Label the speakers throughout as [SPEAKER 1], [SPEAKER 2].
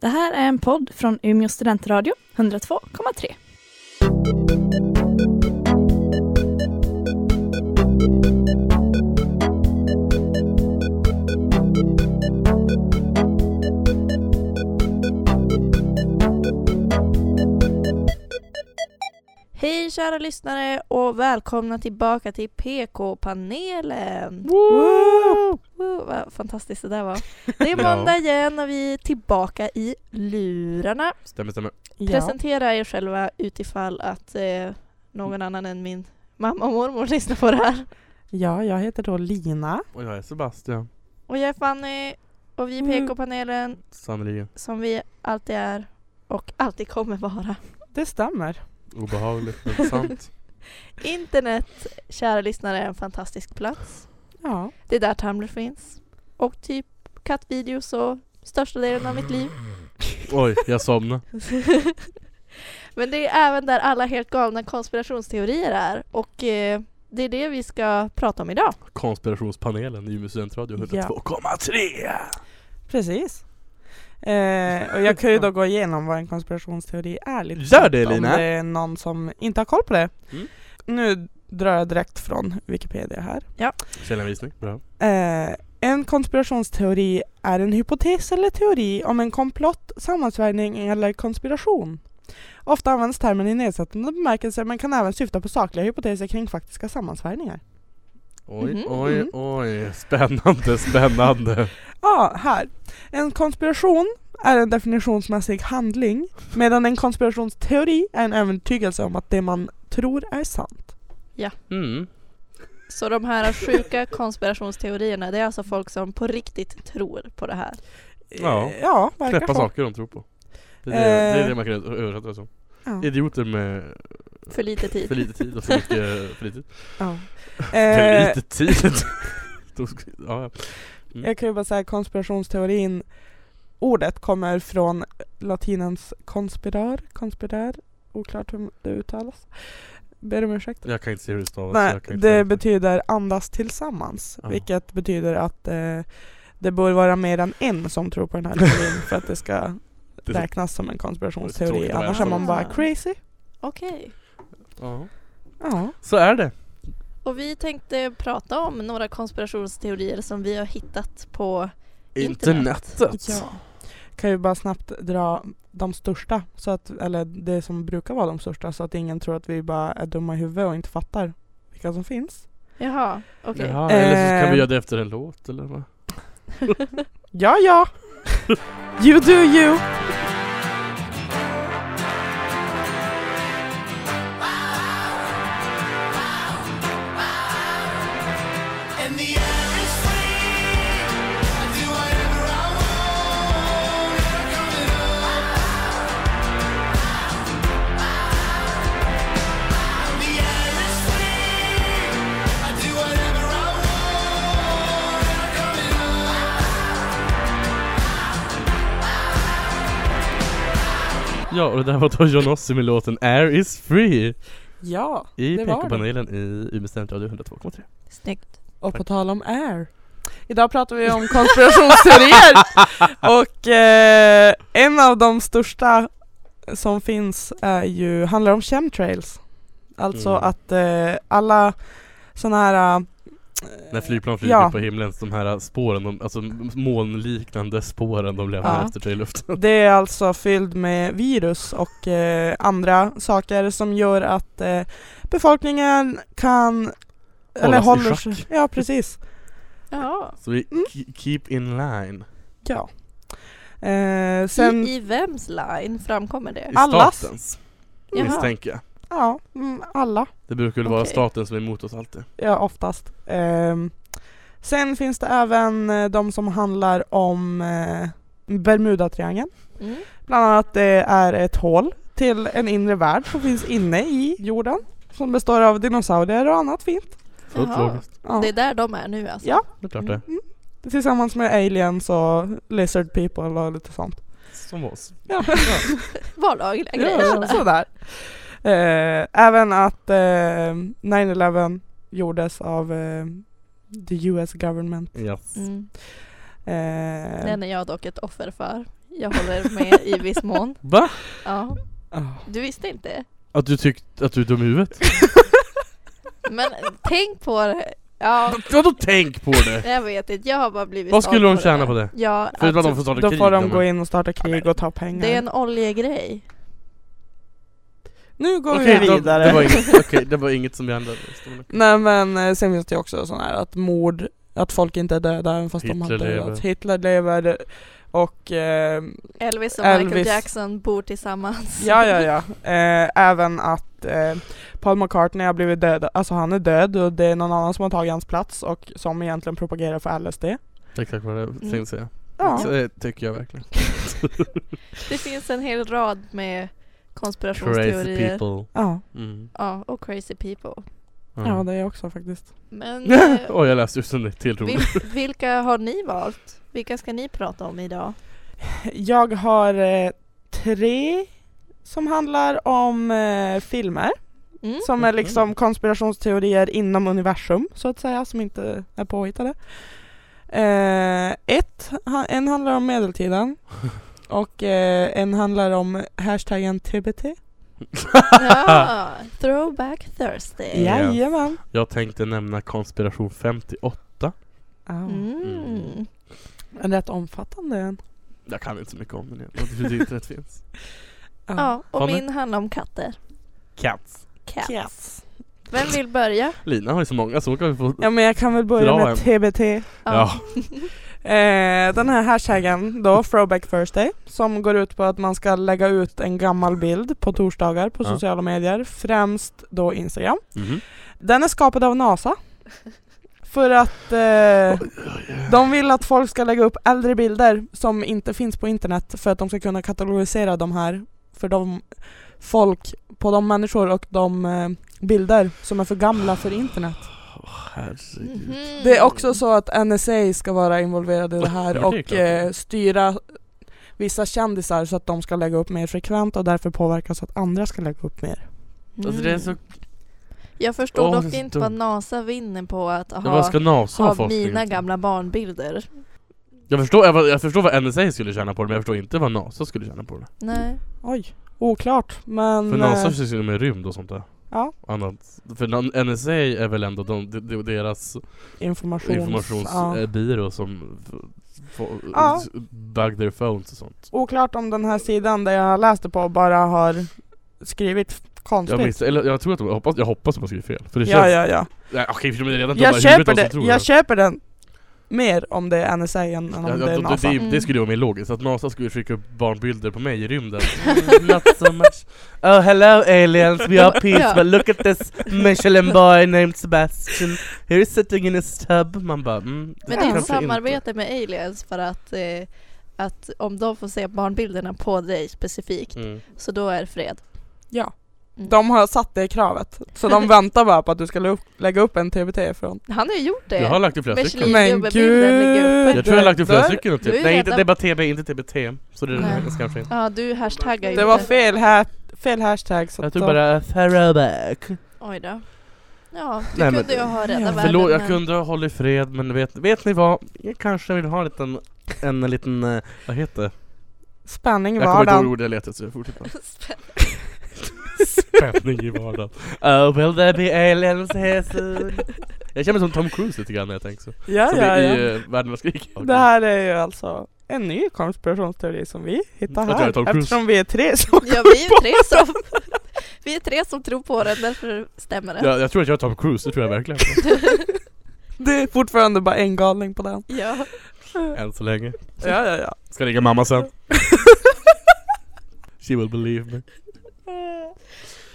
[SPEAKER 1] Det här är en podd från Umeå studentradio, 102,3.
[SPEAKER 2] Hej kära lyssnare och välkomna tillbaka till PK-panelen! Woo, vad fantastiskt det där var. Det är
[SPEAKER 3] Ja.
[SPEAKER 2] måndag igen och vi är tillbaka i lurarna.
[SPEAKER 3] Stämmer, stämmer.
[SPEAKER 2] Presentera er själva utifall att eh, någon annan än min mamma och mormor lyssnar på det här.
[SPEAKER 4] Ja, jag heter då Lina.
[SPEAKER 3] Och jag är Sebastian.
[SPEAKER 2] Och jag är Fanny och vi är
[SPEAKER 4] Mm.
[SPEAKER 2] PK-panelen
[SPEAKER 3] Sannerligen.
[SPEAKER 2] som vi alltid är och alltid kommer vara.
[SPEAKER 4] Det stämmer.
[SPEAKER 3] Obehagligt, men sant.
[SPEAKER 2] Internet, kära lyssnare, är en fantastisk plats.
[SPEAKER 4] Ja.
[SPEAKER 2] Det är där Tumblr finns. Och typ kattvideos och största delen av mitt liv.
[SPEAKER 3] Oj, jag somnade.
[SPEAKER 2] Men det är även där alla helt galna konspirationsteorier är. Och eh, det är det vi ska prata om idag.
[SPEAKER 3] Konspirationspanelen i Umeå studentradio 102,3!
[SPEAKER 4] Precis. Eh, och jag kan ju då gå igenom vad en konspirationsteori är lite
[SPEAKER 3] Gör det,
[SPEAKER 4] snabbt, om
[SPEAKER 3] Lina.
[SPEAKER 4] det är någon som inte har koll på det.
[SPEAKER 3] Mm.
[SPEAKER 4] Nu drar jag direkt från Wikipedia här.
[SPEAKER 3] Källanvisning, bra.
[SPEAKER 4] Eh, en konspirationsteori är en hypotes eller teori om en komplott, sammansvärjning eller konspiration. Ofta används termen i nedsättande bemärkelse men kan även syfta på sakliga hypoteser kring faktiska sammansvärjningar.
[SPEAKER 3] Oj,
[SPEAKER 2] Mhm,
[SPEAKER 3] oj,
[SPEAKER 4] mhm.
[SPEAKER 3] oj. Spännande, spännande.
[SPEAKER 4] Ja, här. En konspiration är en definitionsmässig handling medan en konspirationsteori är en övertygelse om att det man tror är sant.
[SPEAKER 3] Mm.
[SPEAKER 2] Så de här sjuka konspirationsteorierna, det är alltså folk som på riktigt tror på det här.
[SPEAKER 3] Ja.
[SPEAKER 4] Eh, ja verkar
[SPEAKER 3] Knäppa
[SPEAKER 4] så.
[SPEAKER 3] saker de tror på. Det är det, det, är
[SPEAKER 4] Eh.
[SPEAKER 3] det man kan översätta det som.
[SPEAKER 4] Ja.
[SPEAKER 3] Idioter med
[SPEAKER 2] För lite tid.
[SPEAKER 3] för lite tid och för mycket fritid.
[SPEAKER 4] Ja.
[SPEAKER 3] För
[SPEAKER 4] Eh,
[SPEAKER 3] lite tid! Då ska- ja, ja.
[SPEAKER 4] Jag kan ju bara säga konspirationsteorin Ordet kommer från latinens konspirar, konspirär, oklart hur det uttalas. Ber om ursäkt.
[SPEAKER 3] jag kan inte se hur det stavas.
[SPEAKER 4] Nej,
[SPEAKER 3] jag kan inte
[SPEAKER 4] det
[SPEAKER 3] läsa.
[SPEAKER 4] betyder andas tillsammans,
[SPEAKER 3] Ja.
[SPEAKER 4] vilket betyder att eh, det bör vara mer än en som tror på den här teorin för att det ska
[SPEAKER 3] Det är så-
[SPEAKER 4] räknas som en
[SPEAKER 3] tråkigt
[SPEAKER 4] konspirationsteori.
[SPEAKER 3] att vara
[SPEAKER 4] Annars är man bara
[SPEAKER 2] ensam.
[SPEAKER 4] crazy.
[SPEAKER 2] Okej.
[SPEAKER 3] Ja.
[SPEAKER 4] Ja.
[SPEAKER 3] Så är det.
[SPEAKER 2] Och vi tänkte prata om några konspirationsteorier som vi har hittat på internet.
[SPEAKER 4] ja. Kan ju bara snabbt dra de största, så att, eller det som brukar vara de största, så att ingen tror att vi bara är dumma i huvudet och inte fattar vilka som finns.
[SPEAKER 2] Jaha, okej.
[SPEAKER 3] Jaha, eller så kan vi
[SPEAKER 4] Eh.
[SPEAKER 3] göra det efter en låt eller vad?
[SPEAKER 4] Ja, ja! you do you!
[SPEAKER 5] And the air is free. I do whatever I want. Never coming up. And the air is free. I do whatever I want. Never coming up.
[SPEAKER 3] Ja, och det där var då Johnossi med låten Air is free
[SPEAKER 4] Ja,
[SPEAKER 3] i
[SPEAKER 4] det var det.
[SPEAKER 3] PK-panelen i Umeå studentradio 102,3.
[SPEAKER 2] Snyggt.
[SPEAKER 4] Och på tal om air. Idag pratar vi om konspirationsteorier! och eh, en av de största som finns är ju, handlar om chemtrails. Alltså
[SPEAKER 3] Mm.
[SPEAKER 4] att eh, alla sådana här eh,
[SPEAKER 3] När flygplan flyger
[SPEAKER 4] Ja.
[SPEAKER 3] på himlen, de här spåren, de, alltså molnliknande spåren de lämnar
[SPEAKER 4] Ja.
[SPEAKER 3] efter sig i luften.
[SPEAKER 4] Det är alltså fylld med virus och eh, andra saker som gör att eh, befolkningen kan
[SPEAKER 3] Hållas i schack.
[SPEAKER 4] sig. Ja, precis.
[SPEAKER 2] Ja.
[SPEAKER 3] Så vi
[SPEAKER 4] Mm.
[SPEAKER 3] ke- keep in line.
[SPEAKER 4] Ja. Eh, sen,
[SPEAKER 2] I, I vems line framkommer det?
[SPEAKER 3] I
[SPEAKER 4] Allas.
[SPEAKER 3] statens,
[SPEAKER 2] Jaha.
[SPEAKER 3] misstänker jag.
[SPEAKER 4] ja, mm, alla.
[SPEAKER 3] Det brukar väl vara
[SPEAKER 2] Okej.
[SPEAKER 3] staten som är emot oss alltid.
[SPEAKER 4] Ja, oftast. Ehm, sen finns det även eh, de som handlar om eh, Bermudatriangeln.
[SPEAKER 2] Mm.
[SPEAKER 4] Bland annat det är ett hål till en inre värld som finns inne i jorden. Som består av dinosaurier och annat fint.
[SPEAKER 3] Fullt
[SPEAKER 2] Jaha.
[SPEAKER 3] logiskt.
[SPEAKER 4] Ja.
[SPEAKER 2] Det är där de är nu alltså?
[SPEAKER 4] Ja.
[SPEAKER 3] Det är klart det.
[SPEAKER 4] Mm. Tillsammans med aliens och lizard people och lite sånt.
[SPEAKER 3] Som oss.
[SPEAKER 4] Ja,
[SPEAKER 2] Vardagliga grejer.
[SPEAKER 4] ja sådär. Eh, även att eh, 9-11 gjordes av eh, the US government.
[SPEAKER 3] Yes.
[SPEAKER 2] Mm.
[SPEAKER 4] Eh,
[SPEAKER 2] Den är jag dock ett offer för. Jag håller med i viss mån.
[SPEAKER 3] Va?
[SPEAKER 2] Ja.
[SPEAKER 4] Ah.
[SPEAKER 2] Du visste inte?
[SPEAKER 3] Att du tyckte att du är dum i huvudet?
[SPEAKER 2] Men tänk på det. Ja,
[SPEAKER 3] Vadå tänk på det?
[SPEAKER 2] jag vet inte. Jag har bara blivit
[SPEAKER 3] Vad skulle
[SPEAKER 2] såld
[SPEAKER 3] de tjäna
[SPEAKER 2] där.
[SPEAKER 3] på det?
[SPEAKER 2] Ja,
[SPEAKER 3] För att de
[SPEAKER 2] alltså,
[SPEAKER 3] får starta
[SPEAKER 4] Då
[SPEAKER 3] krig
[SPEAKER 4] får de
[SPEAKER 3] men-
[SPEAKER 4] gå in och starta krig och ta pengar.
[SPEAKER 2] det är en oljegrej.
[SPEAKER 4] Nu går
[SPEAKER 3] Okej,
[SPEAKER 4] vi
[SPEAKER 3] då-
[SPEAKER 4] vidare.
[SPEAKER 3] Det var inget, okej, det var inget som hände.
[SPEAKER 4] Nej men eh, sen finns det ju också sån här att mord, att folk inte är döda även fast
[SPEAKER 3] Hitler
[SPEAKER 4] de har dödat.
[SPEAKER 3] lever.
[SPEAKER 4] Hitler lever. Och eh,
[SPEAKER 2] Elvis och Michael
[SPEAKER 4] Elvis.
[SPEAKER 2] Jackson bor tillsammans.
[SPEAKER 4] ja ja ja, eh, även att eh, Paul McCartney har blivit död, alltså han är död och det är någon annan som har tagit hans plats och som egentligen propagerar för LSD.
[SPEAKER 3] Exakt vad jag tänkte säga. Så
[SPEAKER 4] Mm. Ja.
[SPEAKER 3] det tycker jag verkligen.
[SPEAKER 2] Det finns en hel rad med
[SPEAKER 3] Crazy
[SPEAKER 2] konspirationsteorier.
[SPEAKER 3] people.
[SPEAKER 4] Ja,
[SPEAKER 3] Mm.
[SPEAKER 2] Ja, och crazy people.
[SPEAKER 4] ja det är jag också faktiskt.
[SPEAKER 2] Men eh,
[SPEAKER 3] Oj, jag läste just en till rolig.
[SPEAKER 2] vil- vilka har ni valt? Vilka ska ni prata om idag?
[SPEAKER 4] Jag har eh, tre som handlar om eh, filmer
[SPEAKER 2] Mm.
[SPEAKER 4] som är
[SPEAKER 3] Mhm.
[SPEAKER 4] liksom konspirationsteorier inom universum så att säga som inte är påhittade. Eh, ett, ha- en handlar om medeltiden och eh, en handlar om hashtaggen TBT.
[SPEAKER 2] Ja, throwback Thursday.
[SPEAKER 3] Ja.
[SPEAKER 4] Jajamän!
[SPEAKER 3] Jag tänkte nämna konspiration 58.
[SPEAKER 4] Oh.
[SPEAKER 2] Mm.
[SPEAKER 4] En rätt omfattande en.
[SPEAKER 3] Jag kan inte så mycket om den egentligen. Hur det internet finns.
[SPEAKER 2] Ja, och
[SPEAKER 3] Fanny?
[SPEAKER 2] min handlar om katter.
[SPEAKER 3] Cats.
[SPEAKER 2] Cats.
[SPEAKER 4] Yes.
[SPEAKER 2] Vem vill börja?
[SPEAKER 3] Lina har ju så många så hon kan vi få...
[SPEAKER 4] Ja men jag kan väl börja
[SPEAKER 3] Dra
[SPEAKER 4] med
[SPEAKER 3] en.
[SPEAKER 4] TBT.
[SPEAKER 3] Ja.
[SPEAKER 4] Eh, den här hashtaggen då, Throwback Thursday, som går ut på att man ska lägga ut en gammal bild på torsdagar på
[SPEAKER 3] Ja.
[SPEAKER 4] sociala medier, främst då Instagram.
[SPEAKER 3] Mhm.
[SPEAKER 4] Den är skapad av NASA. För att eh, de vill att folk ska lägga upp äldre bilder som inte finns på internet för att de ska kunna katalogisera de här för de folk, på de människor och de eh, bilder som är för gamla för internet.
[SPEAKER 3] Herregud.
[SPEAKER 2] Mhm.
[SPEAKER 4] Det är också så att NSA ska vara involverade i det
[SPEAKER 3] Ja, det
[SPEAKER 4] här
[SPEAKER 3] är
[SPEAKER 4] och
[SPEAKER 3] klart.
[SPEAKER 4] eh, styra vissa kändisar så att de ska lägga upp mer frekvent och därför påverkas att andra ska lägga upp mer.
[SPEAKER 2] Mm.
[SPEAKER 3] Alltså det är så...
[SPEAKER 2] Jag förstår
[SPEAKER 3] Åh, det är
[SPEAKER 2] dock
[SPEAKER 3] så
[SPEAKER 2] inte vad
[SPEAKER 3] dumt.
[SPEAKER 2] NASA vinner på att
[SPEAKER 3] Ja, vad
[SPEAKER 2] ha,
[SPEAKER 3] ska NASA ha
[SPEAKER 2] ha
[SPEAKER 3] forskning
[SPEAKER 2] mina
[SPEAKER 3] till?
[SPEAKER 2] gamla barnbilder.
[SPEAKER 3] Jag förstår, jag, jag förstår vad NSA skulle tjäna på det men jag förstår inte vad NASA skulle tjäna på det.
[SPEAKER 2] Nej.
[SPEAKER 4] Oj, oklart men...
[SPEAKER 3] För NASA
[SPEAKER 4] eh,
[SPEAKER 3] sysslar ju med rymd och sånt där.
[SPEAKER 4] Ja.
[SPEAKER 3] Annat. För na- NSA är väl ändå de, de, de, deras
[SPEAKER 4] informations... ja.
[SPEAKER 3] informationsbyrå som f- f-
[SPEAKER 4] Ja.
[SPEAKER 3] s- dug their phones och sånt.
[SPEAKER 4] Oklart om den här sidan där jag läste på bara har skrivit
[SPEAKER 3] Jag,
[SPEAKER 4] konstigt.
[SPEAKER 3] minns, eller jag tror att de, jag hoppas, jag hoppas att man skriver fel. För det
[SPEAKER 4] Ja,
[SPEAKER 3] känns...
[SPEAKER 4] ja, ja.
[SPEAKER 3] Nej, Okej, för de är redan dumma i
[SPEAKER 4] Jag
[SPEAKER 3] huvudet
[SPEAKER 4] köper,
[SPEAKER 3] de som
[SPEAKER 4] det,
[SPEAKER 3] tror
[SPEAKER 4] jag
[SPEAKER 3] det.
[SPEAKER 4] köper den mer om det är NSA än om
[SPEAKER 3] Ja,
[SPEAKER 4] det är
[SPEAKER 3] det,
[SPEAKER 4] NASA.
[SPEAKER 3] det,
[SPEAKER 2] Mm.
[SPEAKER 3] det, det skulle ju vara mer logiskt, att NASA skulle skicka upp barnbilder på mig i rymden. Not so much.
[SPEAKER 6] Oh, hello, aliens. We are peace,
[SPEAKER 2] Yeah.
[SPEAKER 6] but look at this Michelin boy named Sebastian. Here he's sitting in his tub. Man bara, mm,
[SPEAKER 2] Men det är ett
[SPEAKER 3] Kanske inte.
[SPEAKER 2] samarbete med aliens för att, eh, att om de får se barnbilderna på dig specifikt
[SPEAKER 3] Mm.
[SPEAKER 2] så då är det fred.
[SPEAKER 4] Ja.
[SPEAKER 2] Mm.
[SPEAKER 4] De har satt det kravet. Så de väntar bara på att du ska lu- lägga upp en TBT från.
[SPEAKER 2] Han har ju gjort det.
[SPEAKER 3] Jag har lagt upp flera stycken.
[SPEAKER 2] Michelin- Gubbebilden ligger uppe.
[SPEAKER 3] Jag tror jag har lagt upp flera stycken. och
[SPEAKER 2] Du är
[SPEAKER 3] Typ.
[SPEAKER 2] ju
[SPEAKER 3] Nej, inte
[SPEAKER 2] redan-
[SPEAKER 3] debatt TB, inte TBT. Så det är
[SPEAKER 2] Nej.
[SPEAKER 3] det kanske inte.
[SPEAKER 2] Ja, du hashtaggar ju
[SPEAKER 4] Det var
[SPEAKER 2] inte.
[SPEAKER 4] fel, ha fel hashtag. Så
[SPEAKER 6] Jag
[SPEAKER 4] att
[SPEAKER 6] tog
[SPEAKER 4] de-
[SPEAKER 6] bara throwback.
[SPEAKER 2] Oj då. Ja, du
[SPEAKER 3] Nej, men-
[SPEAKER 2] kunde ju ha räddat
[SPEAKER 4] Ja.
[SPEAKER 2] världen.
[SPEAKER 3] Förlåt, jag
[SPEAKER 2] men-
[SPEAKER 3] kunde ha hållit fred men vet, vet ni vad? Jag kanske vill ha en liten, en liten, eh, vad heter det?
[SPEAKER 4] Spänning i
[SPEAKER 3] Jag kommer inte ihåg
[SPEAKER 4] vardagen.
[SPEAKER 3] ordet jag letade efter så jag fortsätter.
[SPEAKER 2] Spä-
[SPEAKER 3] Spänning i vardagen.
[SPEAKER 6] Oh, will there be aliens here soon?
[SPEAKER 3] Jag känner mig som Tom Cruise lite grann när jag tänker så. Som
[SPEAKER 4] Ja, ja,
[SPEAKER 3] i eh,
[SPEAKER 4] ja.
[SPEAKER 3] ja. Världens krig.
[SPEAKER 4] Det här är ju alltså en ny konspirationsteori som vi hittar
[SPEAKER 3] Att jag är Tom
[SPEAKER 4] här.
[SPEAKER 3] Cruise.
[SPEAKER 4] Eftersom vi är tre som...
[SPEAKER 2] Ja, vi är tre som... Vi är tre som tror på den, därför stämmer det.
[SPEAKER 3] Jag, jag tror att jag är Tom Cruise, det tror jag verkligen.
[SPEAKER 4] Det är fortfarande bara en galning på den.
[SPEAKER 2] Ja.
[SPEAKER 3] Än så länge.
[SPEAKER 4] Ja, ja, ja.
[SPEAKER 3] Ska ringa mamma sen. She will believe me.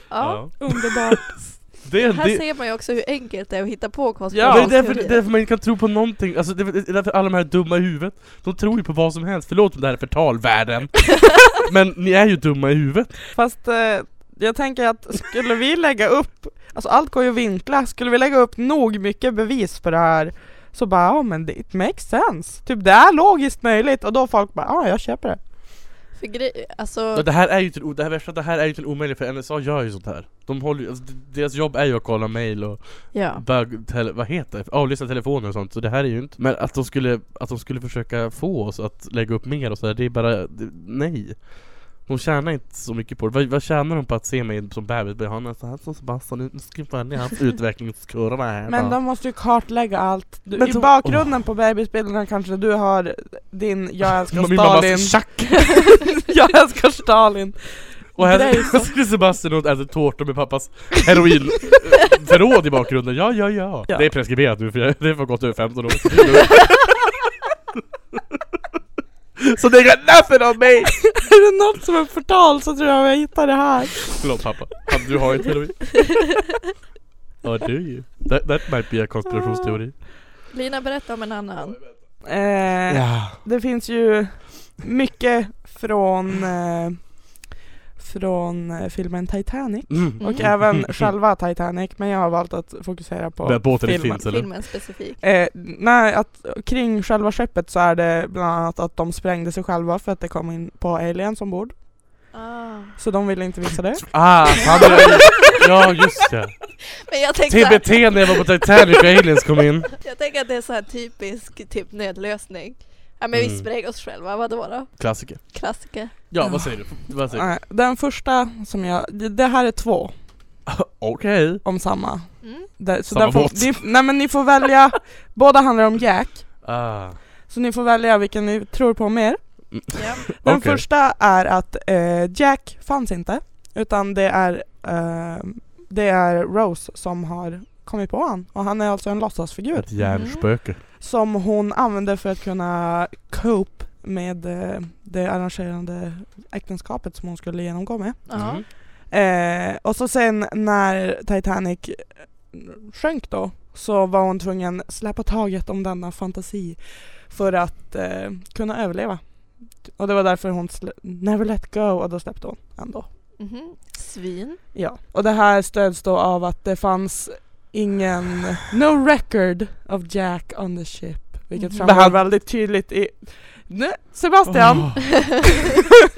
[SPEAKER 2] ja.
[SPEAKER 4] Underbart.
[SPEAKER 3] Det, är-
[SPEAKER 2] Här
[SPEAKER 3] det,
[SPEAKER 2] ser man ju också hur enkelt det är att hitta på
[SPEAKER 3] Ja, det är
[SPEAKER 2] konspirationsteorier.
[SPEAKER 3] därför, det är därför man inte kan tro på någonting, alltså det är det är därför alla de här dumma i huvudet, de tror ju på vad som helst, förlåt om det här är förtal, världen! Men ni är ju dumma i huvudet!
[SPEAKER 4] Fast eh, jag tänker att skulle vi lägga upp, alltså allt går ju att vinkla, skulle vi lägga upp nog mycket bevis på det här så bara ja men det- it makes sense. Typ det är logiskt möjligt och då folk bara ja jag köper det.
[SPEAKER 2] För grej,
[SPEAKER 3] Ja,
[SPEAKER 2] alltså,
[SPEAKER 3] det här är ju inte, det här, värsta, det här är ju inte omöjligt för NSA gör ju sånt här. De håller ju, alltså, d- deras jobb är ju att kolla mail och
[SPEAKER 2] ja.
[SPEAKER 3] bög, tele, vad heter det? Avlyssna telefoner och sånt. Så det här är ju inte, men att de skulle, att de skulle försöka få oss att lägga upp mer och sådär, det är bara, det, nej. De tjänar inte så mycket på det. Vad, vad tjänar de på att se mig som bebis? Bara, Han är så här som Sebastian, nu ska vi följa hans utvecklingskurva här.
[SPEAKER 4] Men
[SPEAKER 3] då.
[SPEAKER 4] de måste ju kartlägga allt. Du,
[SPEAKER 3] Men
[SPEAKER 4] I
[SPEAKER 3] så-
[SPEAKER 4] bakgrunden på bebisbilderna kanske du har din 'Jag älskar
[SPEAKER 3] Min mamma
[SPEAKER 4] Stalin'
[SPEAKER 3] säger tjack!
[SPEAKER 4] Jag älskar Stalin!
[SPEAKER 3] Och här
[SPEAKER 4] Grej så.
[SPEAKER 3] sitter Sebastian och äter tårtor med pappas heroinförråd i bakgrunden. Ja, ja, ja,
[SPEAKER 4] Ja.
[SPEAKER 3] Det är preskriberat nu för jag, det har gått över 15 år.
[SPEAKER 6] Så det är nothing om mig!
[SPEAKER 4] är det något som är förtal så tror jag jag hittar det här.
[SPEAKER 3] Förlåt pappa, Han- du har inte heroin. Ja, du ju. That, that might be a konspirationsteori.
[SPEAKER 2] Lina, berätta om en annan.
[SPEAKER 4] Eh,
[SPEAKER 3] Ja.
[SPEAKER 4] Det finns ju mycket från, eh, från eh, filmen Titanic.
[SPEAKER 3] Mm.
[SPEAKER 4] Och även själva Titanic, men jag har valt att fokusera på
[SPEAKER 3] Där båten inte
[SPEAKER 4] filmen.
[SPEAKER 3] finns eller?
[SPEAKER 2] Filmen specifikt.
[SPEAKER 4] Eh, nej, att kring själva skeppet så är det bland annat att de sprängde sig själva för att det kom in på aliens ombord.
[SPEAKER 2] Ah.
[SPEAKER 4] Så de ville inte visa det.
[SPEAKER 3] Ah, fan, det var ju- ja just det.
[SPEAKER 2] Men jag tänker, så här,
[SPEAKER 3] TBT när jag var på Titanic och aliens kom in.
[SPEAKER 2] jag tänker att det är så här typisk typ nödlösning. Ja men vi
[SPEAKER 3] Mm.
[SPEAKER 2] spräng oss själva, vadå då?
[SPEAKER 3] Klassiker.
[SPEAKER 2] Klassiker.
[SPEAKER 3] Ja, vad säger du? Vad säger du?
[SPEAKER 4] Nej, den första som jag, det, det här är två
[SPEAKER 3] Okej.
[SPEAKER 4] om samma.
[SPEAKER 2] Mm.
[SPEAKER 4] Där, så
[SPEAKER 3] Samma
[SPEAKER 4] där får,
[SPEAKER 3] båt.
[SPEAKER 4] ni, nej men ni får välja, båda handlar om Jack.
[SPEAKER 3] Ah.
[SPEAKER 4] Så ni får välja vilken ni tror på mer.
[SPEAKER 2] Ja.
[SPEAKER 3] Mm.
[SPEAKER 4] Den
[SPEAKER 3] Okej.
[SPEAKER 4] första är att eh, Jack fanns inte, utan det är, eh, det är Rose som har kommit på honom. Och han är alltså en låtsasfigur
[SPEAKER 3] Ett hjärnspöke.
[SPEAKER 4] som hon använder för att kunna cope med eh, det arrangerande äktenskapet som hon skulle genomgå med.
[SPEAKER 2] Ja.
[SPEAKER 3] Mm.
[SPEAKER 4] Eh, och så sen när Titanic eh, sjönk då så var hon tvungen släppa taget om denna fantasi för att eh, kunna överleva. Och det var därför hon slä- never let go och då släppte hon ändå.
[SPEAKER 2] Mhm. Svin.
[SPEAKER 4] Ja. Och det här stöds då av att det fanns ingen, no record of Jack on the ship. Vilket
[SPEAKER 2] Mhm.
[SPEAKER 4] framgår väldigt tydligt i... Nu, Sebastian!
[SPEAKER 3] Åh.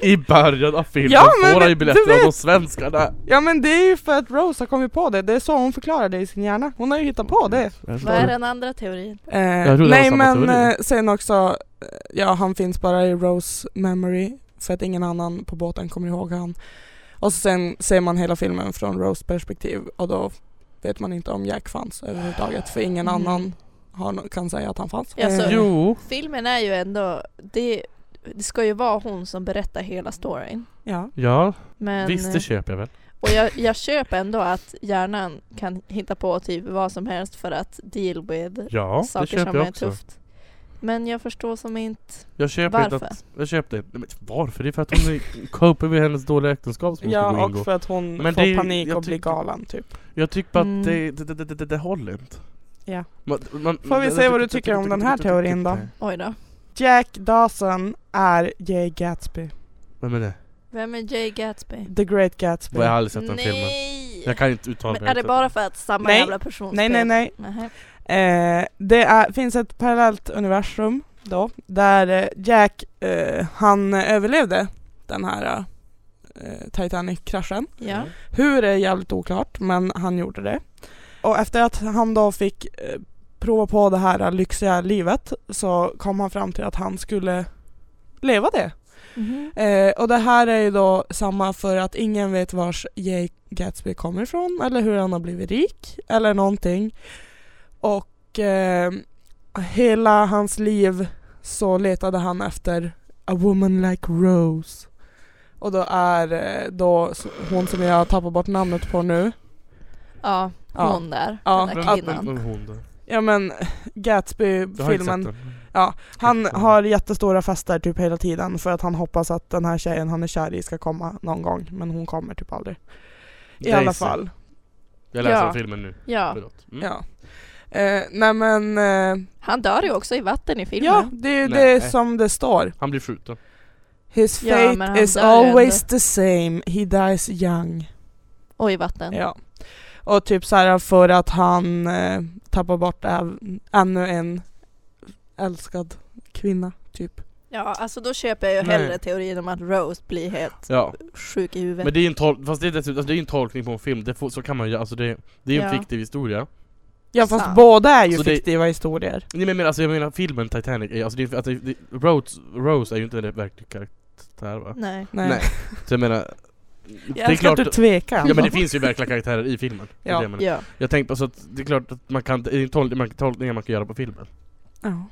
[SPEAKER 3] I början av filmen
[SPEAKER 4] Ja, men
[SPEAKER 3] får han ju
[SPEAKER 4] du
[SPEAKER 3] biljetter av
[SPEAKER 4] vet.
[SPEAKER 3] de svenskarna.
[SPEAKER 4] Ja men det är ju för att Rose har kommit på det, det är så hon förklarar det i sin hjärna. Hon har ju hittat på det.
[SPEAKER 2] Vad är den andra teorin?
[SPEAKER 4] Eh,
[SPEAKER 3] trodde det
[SPEAKER 4] nej
[SPEAKER 3] var samma
[SPEAKER 4] men
[SPEAKER 3] teori.
[SPEAKER 4] eh, sen också, eh, ja han finns bara i Rose memory för att ingen annan på båten kommer ihåg han. Och så sen ser man hela filmen från Rose perspektiv och då vet man inte om Jack fanns överhuvudtaget för ingen
[SPEAKER 2] Mm.
[SPEAKER 4] annan har, nå- kan säga att han fanns. Eh,
[SPEAKER 2] Ja, så-
[SPEAKER 4] jo.
[SPEAKER 3] Jo.
[SPEAKER 2] Filmen är ju ändå, det, det ska ju vara hon som berättar hela storyn.
[SPEAKER 4] ja.
[SPEAKER 3] Ja,
[SPEAKER 2] Men, eh,
[SPEAKER 3] visst det köper jag väl.
[SPEAKER 2] och jag, jag köper ändå att hjärnan kan hitta på typ vad som helst för att deal with
[SPEAKER 3] Ja, det
[SPEAKER 2] saker
[SPEAKER 3] köper
[SPEAKER 2] som
[SPEAKER 3] jag
[SPEAKER 2] är
[SPEAKER 3] också.
[SPEAKER 2] tufft. Men jag förstår som inte
[SPEAKER 3] Jag köper inte
[SPEAKER 2] varför.
[SPEAKER 3] att... Jag köper inte... Nej, men varför? Det är för att hon är- copar med hennes dåliga äktenskap som hon ska
[SPEAKER 4] ja
[SPEAKER 3] gå ingå.
[SPEAKER 4] och för att hon
[SPEAKER 3] Men det är
[SPEAKER 4] får
[SPEAKER 3] ju-
[SPEAKER 4] panik
[SPEAKER 3] jag
[SPEAKER 4] och blir
[SPEAKER 3] tycker-
[SPEAKER 4] galen typ.
[SPEAKER 3] Jag tycker bara
[SPEAKER 2] Mm.
[SPEAKER 3] att det, det, det, det, det, det håller inte.
[SPEAKER 4] Ja.
[SPEAKER 3] Man, man,
[SPEAKER 4] Får vi se vad du tycker om den här teorin då?
[SPEAKER 2] Oj då.
[SPEAKER 4] Jack Dawson är Jay Gatsby,
[SPEAKER 3] Vem är det?
[SPEAKER 2] Vem är Jay Gatsby?
[SPEAKER 4] the great Gatsby.
[SPEAKER 3] Jag har aldrig sett den filmen.
[SPEAKER 2] Nej!
[SPEAKER 3] Jag kan inte uttala
[SPEAKER 2] Men
[SPEAKER 3] mig.
[SPEAKER 2] är det
[SPEAKER 3] inte.
[SPEAKER 2] bara för att samma
[SPEAKER 4] Nej.
[SPEAKER 2] jävla person
[SPEAKER 4] Nej nej nej,
[SPEAKER 2] nej.
[SPEAKER 4] Eh, det är, finns ett parallellt universum då, där eh, Jack, eh, han eh, överlevde den här eh, Titanic-kraschen.
[SPEAKER 2] Ja.
[SPEAKER 4] Hur är jävligt oklart, men han gjorde det. Och efter att han då fick eh, prova på det här eh, lyxiga livet så kom han fram till att han skulle leva det.
[SPEAKER 2] Mhm.
[SPEAKER 4] Eh, och det här är ju då samma för att ingen vet vars Jay Gatsby kommer ifrån eller hur han har blivit rik eller någonting. Och eh, hela hans liv så letade han efter a woman like Rose. Och då är eh, då s- hon som jag har tappat bort namnet på nu.
[SPEAKER 2] Ja,
[SPEAKER 4] Ja.
[SPEAKER 2] hon där.
[SPEAKER 4] Ja,
[SPEAKER 2] Den
[SPEAKER 3] Vem,
[SPEAKER 2] där
[SPEAKER 3] vem, vem,
[SPEAKER 2] kvinnan.
[SPEAKER 3] är hon då?
[SPEAKER 4] Ja men
[SPEAKER 3] Jag har inte sett
[SPEAKER 4] Gatsby-filmen.
[SPEAKER 3] den.
[SPEAKER 4] Han
[SPEAKER 3] Mm.
[SPEAKER 4] har jättestora fester typ hela tiden för att han hoppas att den här tjejen han är kär i ska komma någon gång men hon kommer typ aldrig. I alla
[SPEAKER 3] Daisy.
[SPEAKER 4] fall.
[SPEAKER 3] Jag läser
[SPEAKER 2] Ja.
[SPEAKER 3] om filmen nu.
[SPEAKER 2] Ja.
[SPEAKER 3] Förlåt. Mm.
[SPEAKER 4] Ja. Eh, nej men, eh,
[SPEAKER 2] Han dör ju också i vatten i filmen.
[SPEAKER 4] ja det är ju
[SPEAKER 3] Nej.
[SPEAKER 4] det som det står.
[SPEAKER 3] Han blir skjuten.
[SPEAKER 4] His
[SPEAKER 2] Ja,
[SPEAKER 4] fate
[SPEAKER 2] men han
[SPEAKER 4] is
[SPEAKER 2] dör ju
[SPEAKER 4] always
[SPEAKER 2] ändå.
[SPEAKER 4] the same, he dies young.
[SPEAKER 2] Och i vatten.
[SPEAKER 4] Ja. Och typ så här för att han eh, tappar bort äv- ännu en älskad kvinna typ.
[SPEAKER 2] Ja, alltså då köper jag ju
[SPEAKER 3] Nej.
[SPEAKER 2] hellre teorin om att Rose blir helt
[SPEAKER 3] Ja,
[SPEAKER 2] sjuk i huvudet.
[SPEAKER 3] men det är ju en, tol- fast det är dessutom, alltså det är ju en tolkning på en film, det får, så kan man ju alltså det, det är ju en
[SPEAKER 2] Ja.
[SPEAKER 3] fiktiv historia
[SPEAKER 4] Ja fast
[SPEAKER 2] Sant.
[SPEAKER 4] båda är ju
[SPEAKER 3] Så det-
[SPEAKER 4] fiktiva historier.
[SPEAKER 3] Nej men jag menar, alltså, jag menar filmen Titanic, är, alltså, det, är- alltså det, Rose, Rose är ju inte en verklig karaktär va?
[SPEAKER 2] Nej.
[SPEAKER 4] Nej.
[SPEAKER 3] Nej. Så jag menar,
[SPEAKER 4] Mm. Jag älskar att du tvekar.
[SPEAKER 3] Ja men det finns ju verkliga karaktärer i filmen. Det är
[SPEAKER 4] Ja.
[SPEAKER 3] det jag menar.
[SPEAKER 2] Ja.
[SPEAKER 3] Jag tänkte på så att det är klart att man kan, det är en tol- man- tolkningar man kan göra på filmen.
[SPEAKER 4] Ja,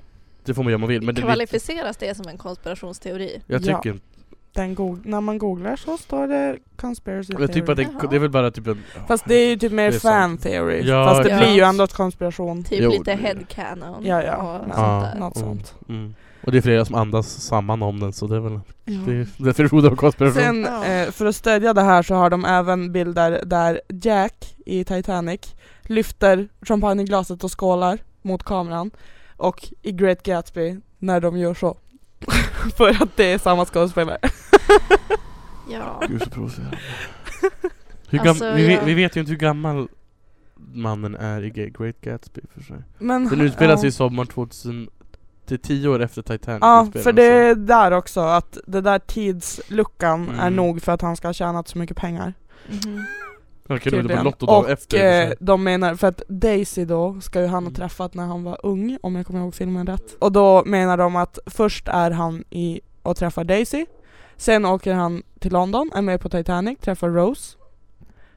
[SPEAKER 3] Det får man göra om man vill. Men det, vi-
[SPEAKER 2] Kvalificeras det som en konspirationsteori?
[SPEAKER 3] jag tycker
[SPEAKER 4] Ja.
[SPEAKER 3] inte,
[SPEAKER 4] den goog- när man googlar så står det conspiracy
[SPEAKER 3] jag tycker att det,
[SPEAKER 2] Jaha.
[SPEAKER 3] det är väl bara typ en...
[SPEAKER 4] Fast det är ju typ mer
[SPEAKER 3] Det är
[SPEAKER 4] fan
[SPEAKER 3] sant.
[SPEAKER 4] theory.
[SPEAKER 3] Ja,
[SPEAKER 4] Fast det
[SPEAKER 2] Ja.
[SPEAKER 4] blir ju ändå ett konspiration.
[SPEAKER 2] Typ
[SPEAKER 3] Jo,
[SPEAKER 2] lite
[SPEAKER 3] det-
[SPEAKER 2] headcanon
[SPEAKER 4] Ja, ja.
[SPEAKER 2] och
[SPEAKER 4] Ja.
[SPEAKER 2] sånt där.
[SPEAKER 4] Något sånt.
[SPEAKER 3] Mm. Och det är flera som andas samman om den så det är väl
[SPEAKER 4] Ja.
[SPEAKER 3] det är definitionen av konspiration.
[SPEAKER 4] Mm. Sen
[SPEAKER 2] Mm. Ja.
[SPEAKER 4] eh, för att stödja det här så har de även bilder där Jack i Titanic lyfter champagneglaset och skålar mot kameran och i Great Gatsby när de gör så. för att det är samma skådespelare.
[SPEAKER 2] Ja.
[SPEAKER 3] Gud så provocerande. Hur gam-
[SPEAKER 2] Alltså,
[SPEAKER 3] vi,
[SPEAKER 2] jag-
[SPEAKER 3] vi vet ju inte hur gammal mannen är i Ga- Great Gatsby för sig.
[SPEAKER 4] Men,
[SPEAKER 3] Den utspelar sig
[SPEAKER 4] ja.
[SPEAKER 3] i sommar 2000, det är tio år efter Titanic
[SPEAKER 4] Ja,
[SPEAKER 3] utspelar
[SPEAKER 4] för
[SPEAKER 3] den
[SPEAKER 4] det
[SPEAKER 3] sig.
[SPEAKER 4] är där också att den där tidsluckan
[SPEAKER 3] Mm.
[SPEAKER 4] är nog för att han ska ha tjänat så mycket pengar.
[SPEAKER 2] Mhm.
[SPEAKER 3] Han kunde väl på
[SPEAKER 4] tydligen.
[SPEAKER 3] Lotto dagen
[SPEAKER 4] Och,
[SPEAKER 3] efter.
[SPEAKER 4] eh,
[SPEAKER 3] i och för sig.
[SPEAKER 4] de menar, för att Daisy då ska ju han ha
[SPEAKER 3] Mm.
[SPEAKER 4] träffat när han var ung, om jag kommer ihåg filmen rätt. Och då menar de att först är han i och träffar Daisy, sen åker han till London, är med på Titanic, träffar Rose.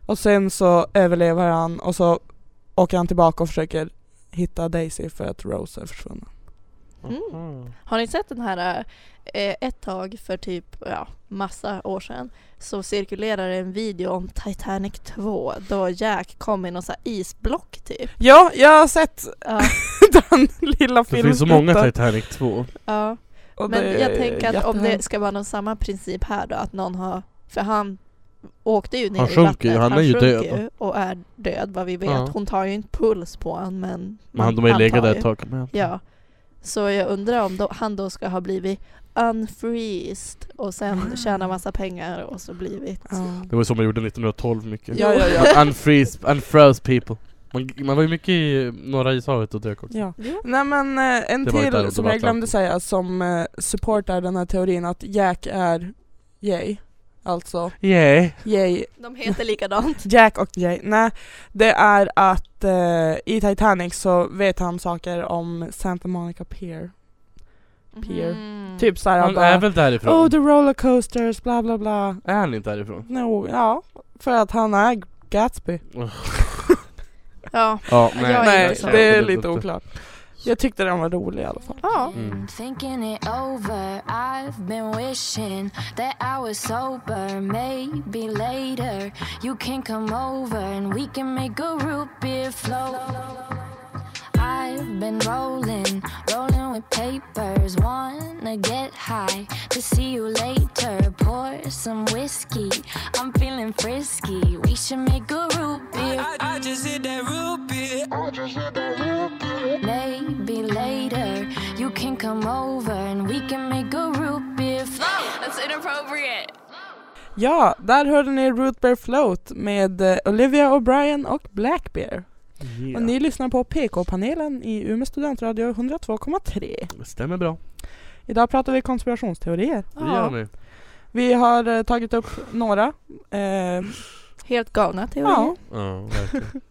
[SPEAKER 4] Och sen så överlever han och så åker han tillbaka och försöker hitta Daisy för att Rose är försvunnen.
[SPEAKER 2] Mm.
[SPEAKER 3] Aha.
[SPEAKER 2] Har ni sett den här, eh, ett tag för typ ja, massa år sedan så cirkulerar det en video om Titanic 2 då Jack kom i någon sån här isblock typ.
[SPEAKER 4] Ja, jag har sett
[SPEAKER 2] Ja,
[SPEAKER 4] den lilla
[SPEAKER 3] Det
[SPEAKER 4] filmen.
[SPEAKER 3] finns så många Titanic 2.
[SPEAKER 2] ja.
[SPEAKER 4] Och det
[SPEAKER 2] Men jag
[SPEAKER 4] är
[SPEAKER 2] tänker att om
[SPEAKER 4] jättehemskt.
[SPEAKER 2] det ska vara någon samma princip här då, att någon har... För han åkte ju ner
[SPEAKER 3] Han
[SPEAKER 2] i
[SPEAKER 3] sjunker
[SPEAKER 2] vattnet.
[SPEAKER 3] ju, han är ju
[SPEAKER 2] sjunker
[SPEAKER 3] död.
[SPEAKER 2] ju och är död vad vi vet.
[SPEAKER 3] Ja.
[SPEAKER 2] Hon tar ju inte puls på honom men...
[SPEAKER 3] Men han, de har ju
[SPEAKER 2] antar
[SPEAKER 3] legat där ett tag. Men-
[SPEAKER 2] Ja. Så jag undrar om då, han då ska ha blivit unfreezed och sen tjäna massa pengar och så blivit...
[SPEAKER 4] Ah. Ja.
[SPEAKER 3] Det var så man gjorde 1912 mycket.
[SPEAKER 4] Ja, ja, ja.
[SPEAKER 3] Unfreeze, unfroze people. Man, man var ju mycket i norra ishavet och dök också.
[SPEAKER 4] Ja.
[SPEAKER 2] Jo.
[SPEAKER 4] Nej men eh, en
[SPEAKER 3] Det var ju där
[SPEAKER 4] till
[SPEAKER 3] det
[SPEAKER 4] som
[SPEAKER 3] var
[SPEAKER 4] jag glömde
[SPEAKER 3] Atlantis.
[SPEAKER 4] säga som eh, supportar den här teorin att Jack är gay. Alltså,
[SPEAKER 3] Yeah.
[SPEAKER 4] gay.
[SPEAKER 2] De heter likadant.
[SPEAKER 4] Jack och gay. Nej, det är att eh, i Titanic så vet han saker om Santa Monica Pier. Pier.
[SPEAKER 2] Mhm.
[SPEAKER 4] Typ såhär
[SPEAKER 3] Han
[SPEAKER 4] att
[SPEAKER 3] är
[SPEAKER 4] bara,
[SPEAKER 3] väl därifrån?
[SPEAKER 4] Oh the rollercoasters, bla bla bla.
[SPEAKER 3] Är han inte därifrån?
[SPEAKER 4] No, ja. För att han är Gatsby.
[SPEAKER 2] Ja.
[SPEAKER 3] Ja,
[SPEAKER 2] nej. Jag är
[SPEAKER 4] Nej,
[SPEAKER 2] inte så.
[SPEAKER 4] det är lite oklart. Jag tyckte den var rolig i alla fall.
[SPEAKER 2] ja.
[SPEAKER 3] Mm.
[SPEAKER 7] Thinking it over, I've been wishing that I was sober. Maybe later you can come over and we can make a root beer float. I've been rolling, rolling with papers. Wanna get high to see you later. Pour some whiskey, I'm feeling frisky. We should make a root beer. Maybe later you can come over and we can make a root beer. float. That's inappropriate.
[SPEAKER 4] Ja, där hörde ni Root Bear Float med eh, Olivia O'Brien och Black Bear.
[SPEAKER 3] Yeah.
[SPEAKER 4] Och ni lyssnar på PK-panelen i Umeå studentradio 102,3.
[SPEAKER 3] Det stämmer bra.
[SPEAKER 4] Idag pratar vi konspirationsteorier.
[SPEAKER 3] Det gör ni.
[SPEAKER 4] Vi har eh, tagit upp några. Eh,
[SPEAKER 2] Helt galna teorier.
[SPEAKER 4] ja,
[SPEAKER 3] Ja, verkligen.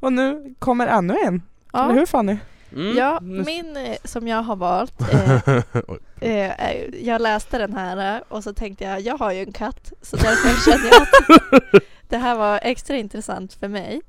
[SPEAKER 4] och nu kommer ännu en.
[SPEAKER 2] Ja.
[SPEAKER 4] Eller hur Fanny?
[SPEAKER 3] Mm.
[SPEAKER 2] Ja,
[SPEAKER 3] Nu-
[SPEAKER 2] min eh, som jag har valt. Eh, eh, är- jag läste den här eh, och så tänkte jag, jag har ju en katt så därför kände jag att det här var extra intressant för mig.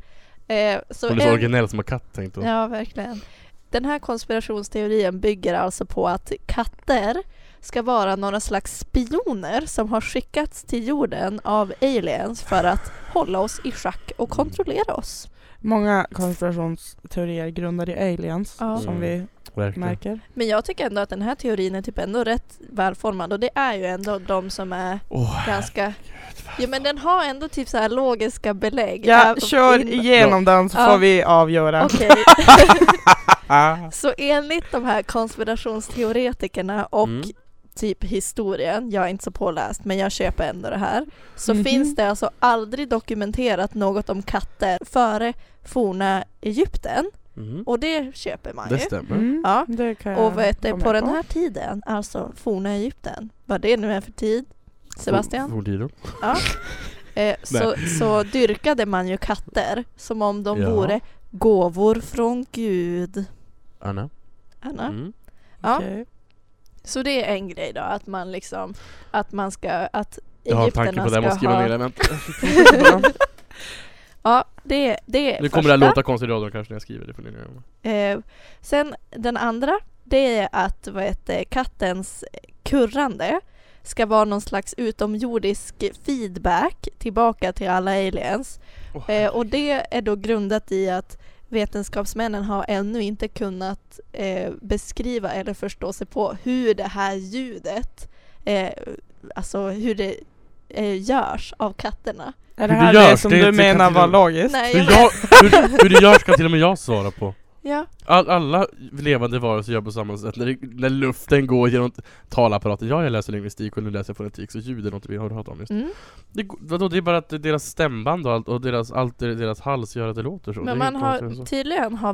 [SPEAKER 2] Eh, så
[SPEAKER 3] Hon är så
[SPEAKER 2] en-
[SPEAKER 3] originell som en katt tänkte hon.
[SPEAKER 2] Ja, verkligen. Den här konspirationsteorin bygger alltså på att katter ska vara några slags spioner som har skickats till jorden av aliens för att hålla oss i schack och kontrollera oss.
[SPEAKER 4] Många konspirationsteorier grundade i aliens
[SPEAKER 2] Ja.
[SPEAKER 4] som
[SPEAKER 3] Mm.
[SPEAKER 4] vi
[SPEAKER 3] Verkligen.
[SPEAKER 4] märker.
[SPEAKER 2] Men jag tycker ändå att den här teorin är typ ändå rätt välformad och det är ju ändå de som är
[SPEAKER 3] Åh,
[SPEAKER 2] ganska... Jo men den har ändå typ så här logiska belägg.
[SPEAKER 4] Ja,
[SPEAKER 2] Även
[SPEAKER 4] kör
[SPEAKER 2] in-
[SPEAKER 4] igenom den så
[SPEAKER 2] Ja.
[SPEAKER 4] får vi avgöra. Ah.
[SPEAKER 2] Okej. så enligt de här konspirationsteoretikerna och
[SPEAKER 3] Mm.
[SPEAKER 2] typ historien, jag är inte så påläst men jag köper ändå det här, så
[SPEAKER 4] Mhm.
[SPEAKER 2] finns det alltså aldrig dokumenterat något om katter före forna Egypten.
[SPEAKER 3] Mm.
[SPEAKER 2] Och det köper man
[SPEAKER 3] Det
[SPEAKER 2] ju.
[SPEAKER 3] stämmer.
[SPEAKER 4] Mm,
[SPEAKER 2] Ja.
[SPEAKER 4] det kan jag
[SPEAKER 2] Och vet du,
[SPEAKER 4] gå
[SPEAKER 2] på
[SPEAKER 4] med
[SPEAKER 2] den här tiden, alltså forna Egypten, vad det nu är för tid, Sebastian,
[SPEAKER 3] Forntiden. oh.
[SPEAKER 2] eh, så, så dyrkade man ju katter som om de
[SPEAKER 3] Ja.
[SPEAKER 2] vore gåvor från Gud.
[SPEAKER 3] Anna.
[SPEAKER 2] Anna.
[SPEAKER 3] Mm.
[SPEAKER 2] Ja.
[SPEAKER 4] Okej.
[SPEAKER 2] Så det är en grej då, att man liksom, att man ska, att
[SPEAKER 3] Jag har en tanke på
[SPEAKER 2] egyptierna
[SPEAKER 3] det, jag måste
[SPEAKER 2] ska
[SPEAKER 3] skriva ner
[SPEAKER 2] ha...
[SPEAKER 3] det. Vänta.
[SPEAKER 2] Ja, det, det är
[SPEAKER 3] Nu kommer det
[SPEAKER 2] första.
[SPEAKER 3] att låta konstigt i radion kanske när jag skriver det. För ni-
[SPEAKER 2] Eh, sen den andra, det är att vad heter, kattens kurrande ska vara någon slags utomjordisk feedback tillbaka till alla aliens.
[SPEAKER 3] Åh,
[SPEAKER 2] Eh, och det är då grundat i att vetenskapsmännen har ännu inte kunnat eh, beskriva eller förstå sig på hur det här ljudet, eh, alltså hur det eh, görs av katterna.
[SPEAKER 4] Är det
[SPEAKER 3] Hur
[SPEAKER 4] här
[SPEAKER 3] det
[SPEAKER 4] det
[SPEAKER 3] görs,
[SPEAKER 4] som
[SPEAKER 3] det
[SPEAKER 4] du
[SPEAKER 3] kan
[SPEAKER 4] menar
[SPEAKER 3] inte
[SPEAKER 4] var
[SPEAKER 3] du-
[SPEAKER 4] logiskt?
[SPEAKER 2] Nej,
[SPEAKER 3] Hur,
[SPEAKER 2] jag vet.
[SPEAKER 3] jag, hur, hur det görs kan till och med jag svara på.
[SPEAKER 2] Ja,
[SPEAKER 3] All, alla levande varelser gör på samma sätt. När, det, när luften går genom talapparaten. Ja, jag läser lingvistik och nu läser jag fonetik, så ljud är något vi har pratat om just.
[SPEAKER 2] mm.
[SPEAKER 3] Det, g- vadå, det är bara att det- deras stämband och allt, och deras, allt i deras hals gör att det låter så. det är alltså.
[SPEAKER 2] men man
[SPEAKER 3] inte konstigt
[SPEAKER 2] har,
[SPEAKER 3] än så.
[SPEAKER 2] tydligen har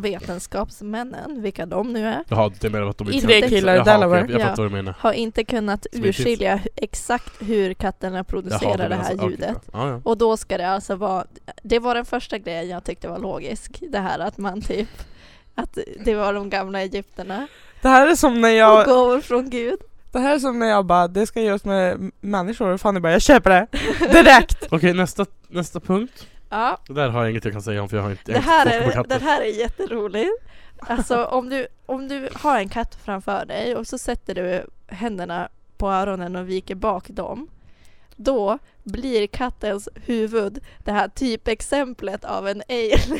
[SPEAKER 2] vetenskapsmännen, vilka de nu är,
[SPEAKER 3] Jaha, det menar att de
[SPEAKER 2] Inte
[SPEAKER 4] Tre killar i
[SPEAKER 3] Jaha, okej,
[SPEAKER 4] Delaware.
[SPEAKER 3] jag, jag
[SPEAKER 2] Ja.
[SPEAKER 3] fattar vad du menar.
[SPEAKER 2] har inte kunnat
[SPEAKER 3] Som är tips.
[SPEAKER 2] urskilja hu- exakt hur katterna producerar det,
[SPEAKER 3] menar
[SPEAKER 2] här
[SPEAKER 3] så. Okej,
[SPEAKER 2] ljudet.
[SPEAKER 3] ja. Ja, ja.
[SPEAKER 2] Och då ska det alltså vara, det var den första grejen jag tyckte var logisk, det här att man typ, att det var de gamla egyptierna
[SPEAKER 4] Det här är som när
[SPEAKER 2] och
[SPEAKER 4] jag,
[SPEAKER 2] gåvor från Gud.
[SPEAKER 4] det här är som när jag bara, det ska göras med m- människor, och Fanny bara, jag köper det! Direkt!
[SPEAKER 3] Okej, nästa, nästa punkt.
[SPEAKER 2] Ja,
[SPEAKER 3] Det där har jag inget jag kan säga om för jag har inte
[SPEAKER 2] det här
[SPEAKER 3] jag har inte
[SPEAKER 2] är,
[SPEAKER 3] forskat på
[SPEAKER 2] det
[SPEAKER 3] katter.
[SPEAKER 2] här är jätteroligt. Alltså om du, om du har en katt framför dig och så sätter du händerna på öronen och viker bak dem, då blir kattens huvud det här typexemplet av en alien.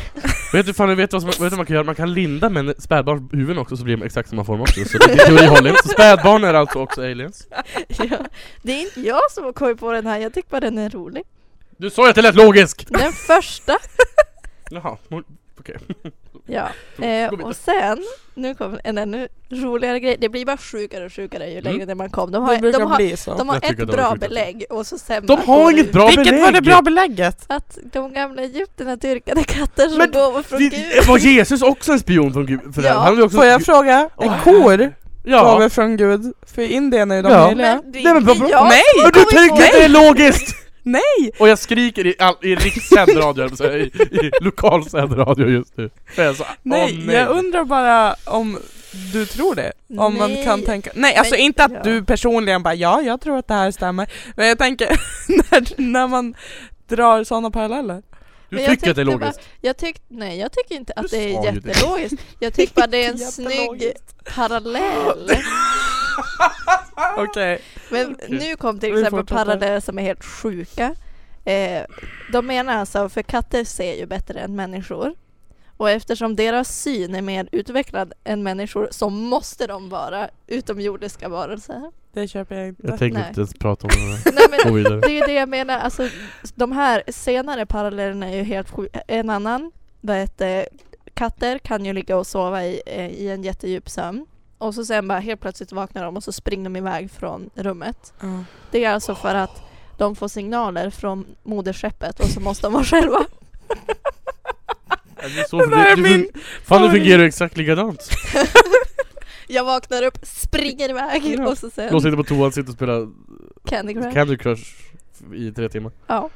[SPEAKER 3] Vet du fan, vet du vad som, vet du vad man kan göra? Man kan linda med en spädbarns huvuden också så blir de exakt samma form också. Så det teori håller inte. Så spädbarn är alltså också aliens.
[SPEAKER 2] Ja, det är inte jag som har kommit på den här, jag tycker bara den är rolig.
[SPEAKER 3] Du sa ju att det lät logisk!
[SPEAKER 2] Den första
[SPEAKER 3] Jaha, mor- okej.
[SPEAKER 2] Ja,
[SPEAKER 3] Gå
[SPEAKER 2] eh,
[SPEAKER 3] vidare.
[SPEAKER 2] och sen, nu kommer en ännu roligare grej. Det blir bara sjukare och sjukare ju
[SPEAKER 3] Mm.
[SPEAKER 2] längre ner man kom. De
[SPEAKER 4] Det
[SPEAKER 2] har, de
[SPEAKER 4] brukar
[SPEAKER 2] har,
[SPEAKER 4] bli så.
[SPEAKER 2] de har
[SPEAKER 3] Jag tycker
[SPEAKER 2] ett
[SPEAKER 3] att de är
[SPEAKER 2] bra
[SPEAKER 3] sjuka.
[SPEAKER 2] belägg och så sämre
[SPEAKER 3] De har
[SPEAKER 2] går det
[SPEAKER 3] inget
[SPEAKER 2] ut.
[SPEAKER 3] bra
[SPEAKER 4] Vilket
[SPEAKER 3] belägg!
[SPEAKER 4] var det bra belägget?
[SPEAKER 2] Att de gamla egyptierna dyrkade katter som
[SPEAKER 3] Men
[SPEAKER 2] gåvor från Gud.
[SPEAKER 3] Det- Var Jesus också en spion från Gud? För det?
[SPEAKER 2] Ja.
[SPEAKER 3] Han var ju också
[SPEAKER 4] Får jag fråga, är
[SPEAKER 3] Åh.
[SPEAKER 4] kor gav
[SPEAKER 3] Ja.
[SPEAKER 4] vi från Gud? För i Indien är ju de
[SPEAKER 3] Ja.
[SPEAKER 4] heliga.
[SPEAKER 2] Men det
[SPEAKER 3] Nej,
[SPEAKER 2] är
[SPEAKER 3] men
[SPEAKER 2] inte
[SPEAKER 3] vad bra-
[SPEAKER 2] jag
[SPEAKER 4] Nej,
[SPEAKER 2] som
[SPEAKER 3] Men
[SPEAKER 2] har
[SPEAKER 3] du
[SPEAKER 2] kommit
[SPEAKER 3] tycker
[SPEAKER 2] på
[SPEAKER 3] att
[SPEAKER 2] det.
[SPEAKER 3] det är logiskt!
[SPEAKER 4] Nej!
[SPEAKER 3] Och jag skriker i, all, i rikssänd radio, höll jag på att säga, i, i lokalsänd radio just nu. För jag sa, åh,
[SPEAKER 4] Nej,
[SPEAKER 3] nej.
[SPEAKER 4] jag undrar bara om du tror det? Om man
[SPEAKER 2] Nej.
[SPEAKER 4] kan tänka, nej alltså
[SPEAKER 2] Men-
[SPEAKER 4] inte att
[SPEAKER 2] ja.
[SPEAKER 4] du personligen bara ja, jag tror att det här stämmer. Men jag tänker när, när man drar sådana paralleller.
[SPEAKER 3] Du
[SPEAKER 2] Men jag
[SPEAKER 3] tycker att det är
[SPEAKER 2] tyckte
[SPEAKER 3] logiskt?
[SPEAKER 2] Jag tyck, nej, jag tycker inte att
[SPEAKER 3] Du
[SPEAKER 2] det är
[SPEAKER 3] sa ju det.
[SPEAKER 2] jättelogiskt. Jag tycker bara det är en
[SPEAKER 4] Inte
[SPEAKER 2] snygg
[SPEAKER 4] jättelogiskt.
[SPEAKER 2] parallell.
[SPEAKER 4] Okej.
[SPEAKER 2] Men nu kom till
[SPEAKER 4] Vi
[SPEAKER 2] exempel
[SPEAKER 4] fortsätter.
[SPEAKER 2] paralleller som är helt sjuka. Eh, de menar alltså, för katter ser ju bättre än människor. Och eftersom deras syn är mer utvecklad än människor så måste de vara utomjordiska varelser.
[SPEAKER 4] Det köper jag inte.
[SPEAKER 3] Jag tänker
[SPEAKER 2] Nej.
[SPEAKER 3] inte ens prata om det där.
[SPEAKER 2] Nej,
[SPEAKER 3] Gå
[SPEAKER 2] men
[SPEAKER 3] vidare.
[SPEAKER 2] det är ju det jag menar, alltså de här senare parallellerna är ju helt sjuka. En annan, vad heter katter kan ju ligga och sova i, eh, i en jättedjup sömn. Och så sen bara helt plötsligt vaknar de och så springer de iväg från rummet.
[SPEAKER 4] Ja.
[SPEAKER 2] Det är alltså för att de får signaler från moderskeppet och så måste de vara själva.
[SPEAKER 3] Ja, det är så, för
[SPEAKER 4] Det här
[SPEAKER 3] du-
[SPEAKER 4] är
[SPEAKER 3] du-
[SPEAKER 4] min
[SPEAKER 3] Fan det
[SPEAKER 4] favorit.
[SPEAKER 3] fungerar ju exakt likadant.
[SPEAKER 2] Jag vaknar upp, springer iväg och så sen
[SPEAKER 3] De sitter på toan, sitter och spelar
[SPEAKER 2] Candy Crush.
[SPEAKER 3] Candy Crush i tre timmar.
[SPEAKER 2] Ja.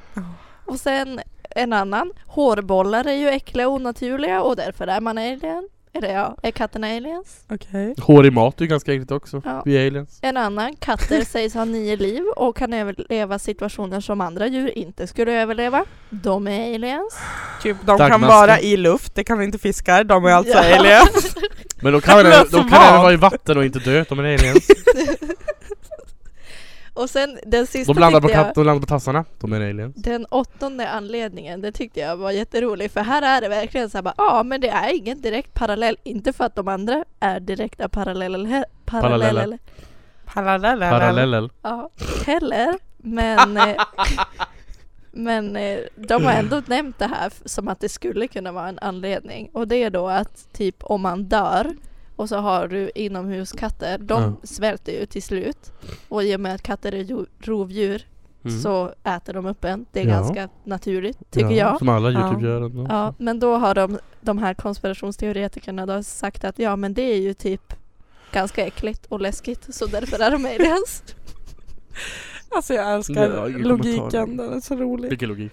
[SPEAKER 2] Och sen en annan. Hårbollar är ju äckliga och onaturliga och därför är man alien. Eller ja, är katterna aliens?
[SPEAKER 4] Okej.
[SPEAKER 3] Hår i mat är ju ganska äckligt också.
[SPEAKER 2] Ja.
[SPEAKER 3] Vi är aliens.
[SPEAKER 2] En annan. Katter sägs ha nio liv och kan överleva situationer som andra djur inte skulle överleva. De är aliens.
[SPEAKER 4] Typ, de
[SPEAKER 3] Tack,
[SPEAKER 4] kan
[SPEAKER 3] masken.
[SPEAKER 4] vara i luft, det kan vi inte fiskar, de är alltså
[SPEAKER 2] Ja.
[SPEAKER 4] aliens.
[SPEAKER 3] Men de kan, även,
[SPEAKER 4] Alltså,
[SPEAKER 3] de kan
[SPEAKER 4] vad?
[SPEAKER 3] även vara i vatten och inte dö, de är aliens.
[SPEAKER 2] Och sen den sista
[SPEAKER 3] De landar på,
[SPEAKER 2] tyckte jag-
[SPEAKER 3] katt, de landar på tassarna, de är aliens.
[SPEAKER 2] Den åttonde anledningen, det tyckte jag var jätterolig för här är det verkligen så här bara, ja men det är ingen direkt parallell, inte för att de andra är direkta paralleller, he- paralleller
[SPEAKER 3] Paralleller.
[SPEAKER 4] Paralleller.
[SPEAKER 3] Paralleller.
[SPEAKER 2] ja, heller, men eh, men eh, de har ändå nämnt det här f- som att det skulle kunna vara en anledning och det är då att typ om man dör och så har du inomhuskatter, de
[SPEAKER 3] Ja.
[SPEAKER 2] svälter ju till slut och i och med att katter är jo- rovdjur
[SPEAKER 3] Mm.
[SPEAKER 2] så äter de upp en. Det är
[SPEAKER 3] Ja.
[SPEAKER 2] ganska naturligt tycker
[SPEAKER 3] ja,
[SPEAKER 2] jag.
[SPEAKER 3] Som alla
[SPEAKER 2] Ja.
[SPEAKER 3] Youtube-gör. Ja.
[SPEAKER 2] Ja, men då har de, de här konspirationsteoretikerna då sagt att ja men det är ju typ ganska äckligt och läskigt så därför är de aliens.
[SPEAKER 4] Alltså jag
[SPEAKER 3] Det
[SPEAKER 4] älskar
[SPEAKER 3] var ingen kommentar.
[SPEAKER 4] logiken, den är så rolig.
[SPEAKER 3] Vilken logik.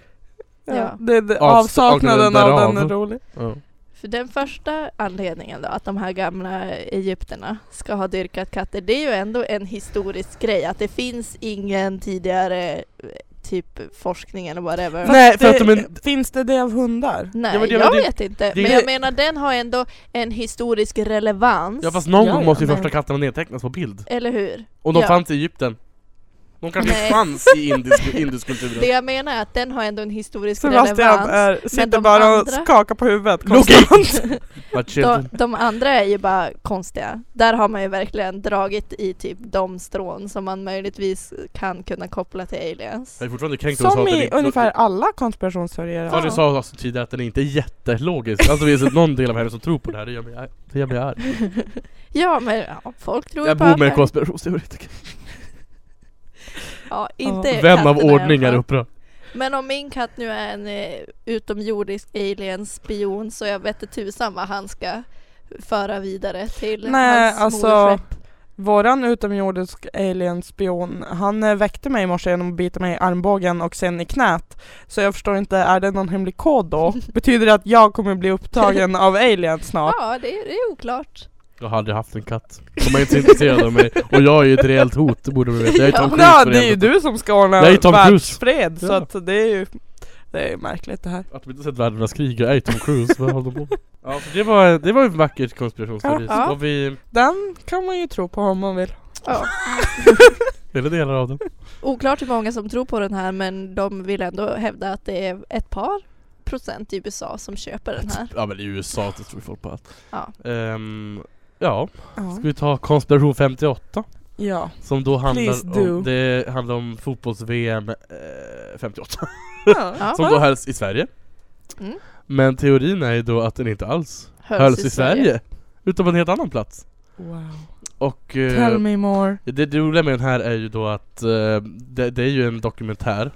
[SPEAKER 2] Ja.
[SPEAKER 4] Ja. Det, det,
[SPEAKER 3] Avs-
[SPEAKER 4] avsaknaden
[SPEAKER 3] avsaknaden
[SPEAKER 4] av den är
[SPEAKER 3] därav.
[SPEAKER 4] rolig.
[SPEAKER 3] Ja.
[SPEAKER 2] För den första anledningen då att de här gamla egypterna ska ha dyrkat katter det är ju ändå en historisk grej att det finns ingen tidigare eh, typ forskning eller whatever.
[SPEAKER 3] Nej, för
[SPEAKER 4] Det-
[SPEAKER 3] att de är...
[SPEAKER 4] Finns det det av hundar?
[SPEAKER 2] Nej,
[SPEAKER 3] Ja, men det-
[SPEAKER 2] jag
[SPEAKER 3] det-
[SPEAKER 2] vet inte.
[SPEAKER 3] det-
[SPEAKER 2] men jag menar den har ändå en historisk relevans.
[SPEAKER 3] Ja fast någon
[SPEAKER 4] Ja,
[SPEAKER 3] gång
[SPEAKER 4] ja,
[SPEAKER 3] måste ju
[SPEAKER 2] men-
[SPEAKER 3] första katterna nedtecknas på bild.
[SPEAKER 2] Eller hur?
[SPEAKER 3] Och de
[SPEAKER 2] Ja.
[SPEAKER 3] fanns i Egypten. De kanske
[SPEAKER 2] Nej.
[SPEAKER 3] fanns i indisk, indisk kulturen.
[SPEAKER 2] Det jag menar är att den har ändå en historisk
[SPEAKER 4] Sebastian
[SPEAKER 2] relevans.
[SPEAKER 4] är, sitter
[SPEAKER 2] de
[SPEAKER 4] bara och
[SPEAKER 2] andra-
[SPEAKER 4] skakar på huvudet
[SPEAKER 3] Logik!
[SPEAKER 4] konstant.
[SPEAKER 3] My
[SPEAKER 2] De,
[SPEAKER 3] children.
[SPEAKER 2] de andra är ju bara konstiga. Där har man ju verkligen dragit i typ de strån som man möjligtvis kan kunna koppla till aliens.
[SPEAKER 3] Jag är fortfarande kränkt över att
[SPEAKER 4] Som
[SPEAKER 3] den
[SPEAKER 4] i
[SPEAKER 3] är-
[SPEAKER 4] ungefär alla konspirationsteorier.
[SPEAKER 3] Ja, du sa alltså tidigare att den är inte är jättelogisk. Alltså finns det någon del av henne som tror på det här, det gör mig, ar- det gör mig arg.
[SPEAKER 2] Ja men ja, folk tror
[SPEAKER 3] Jag
[SPEAKER 2] på
[SPEAKER 3] bor med en
[SPEAKER 2] apor.
[SPEAKER 3] konspirationsteoretiker.
[SPEAKER 2] ja, inte
[SPEAKER 3] Vän av
[SPEAKER 2] katterna i alla
[SPEAKER 3] ordning är
[SPEAKER 2] fall.
[SPEAKER 3] upprörd.
[SPEAKER 2] Men om min katt nu är en eh, utomjordisk alien-spion så jag vet inte tusan vad han ska föra vidare till
[SPEAKER 4] Nej,
[SPEAKER 2] hans
[SPEAKER 4] alltså-
[SPEAKER 2] moderskepp.
[SPEAKER 4] Våran utomjordisk alien-spion, han eh, väckte mig i morse genom att bita mig i armbågen och sen i knät. Så jag förstår inte, är det någon hemlig kod då? Betyder det att jag kommer bli upptagen av alien snart?
[SPEAKER 2] Ja, det, det är oklart.
[SPEAKER 3] Jag har aldrig haft en katt. De är inte så intresserade av mig. Och jag är ju ett reellt hot, det borde du veta. Jag är Tom
[SPEAKER 2] Ja.
[SPEAKER 3] Cruise
[SPEAKER 4] Ja,
[SPEAKER 3] för
[SPEAKER 4] det är ju
[SPEAKER 3] helvete.
[SPEAKER 4] du som ska ordna
[SPEAKER 3] Jag är Tom Cruise.
[SPEAKER 4] världsfred, så
[SPEAKER 3] Ja.
[SPEAKER 4] att det är ju det är märkligt det här.
[SPEAKER 3] Att de inte sett världens krig, jag är ju Tom Cruise. Vad håller de på med? Ja, så det var, det var en vacker konspirationsteori.
[SPEAKER 4] Ja.
[SPEAKER 3] Ska vi...
[SPEAKER 4] Den kan man ju tro på om man vill.
[SPEAKER 2] Ja.
[SPEAKER 3] Eller delar av den.
[SPEAKER 2] Oklart hur många som tror på den här men de vill ändå hävda att det är ett par procent i USA som köper den här.
[SPEAKER 3] Ja men i USA så tror folk på allt.
[SPEAKER 2] Ja.
[SPEAKER 3] Ehm, ja,
[SPEAKER 4] Ja.
[SPEAKER 3] ska vi ta konspiration 58?
[SPEAKER 4] ja.
[SPEAKER 3] Som då
[SPEAKER 4] Please
[SPEAKER 3] handlar
[SPEAKER 4] do.
[SPEAKER 3] om, det handlar om fotbolls-VM eh, 58.
[SPEAKER 4] ja.
[SPEAKER 3] Som då hölls i Sverige.
[SPEAKER 2] Mm.
[SPEAKER 3] Men teorin är ju då att den inte alls hölls i Sverige. Utan på en helt annan plats.
[SPEAKER 4] Wow.
[SPEAKER 3] Och
[SPEAKER 4] Tell
[SPEAKER 3] eh,
[SPEAKER 4] me more.
[SPEAKER 3] det det roliga med den här är ju då att eh, det, det är ju en dokumentär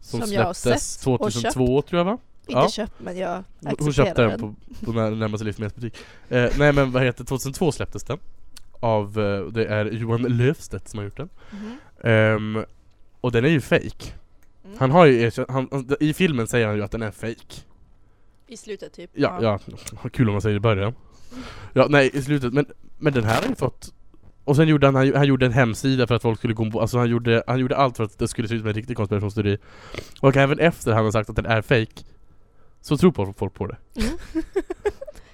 [SPEAKER 3] som,
[SPEAKER 2] Som jag har
[SPEAKER 3] släpptes
[SPEAKER 2] sett och
[SPEAKER 3] 2002 tror jag va?
[SPEAKER 2] Inte
[SPEAKER 3] Ja.
[SPEAKER 2] köpt men jag
[SPEAKER 3] Hon-
[SPEAKER 2] accepterar
[SPEAKER 3] Hon köpte den
[SPEAKER 2] den.
[SPEAKER 3] på, på när- närmaste livsmedelsbutik. Eh, nej men vad heter 2002 släpptes den. Av, eh, det är Johan Löfstedt som har gjort den.
[SPEAKER 2] Mhm.
[SPEAKER 3] Ehm, och den är ju fake.
[SPEAKER 2] Mm.
[SPEAKER 3] Han har ju erkänt, han, han, i filmen säger han ju att den är fake.
[SPEAKER 2] I slutet typ.
[SPEAKER 3] Ja, ja, kul om man säger det i början. Ja, nej i slutet, men, men den här har ju fått... Och sen gjorde han, han, han gjorde en hemsida för att folk skulle gå på, alltså han gjorde, han gjorde allt för att det skulle se ut som en riktig konspirationsteori. Och även efter han har sagt att den är fake så tror på- folk på det.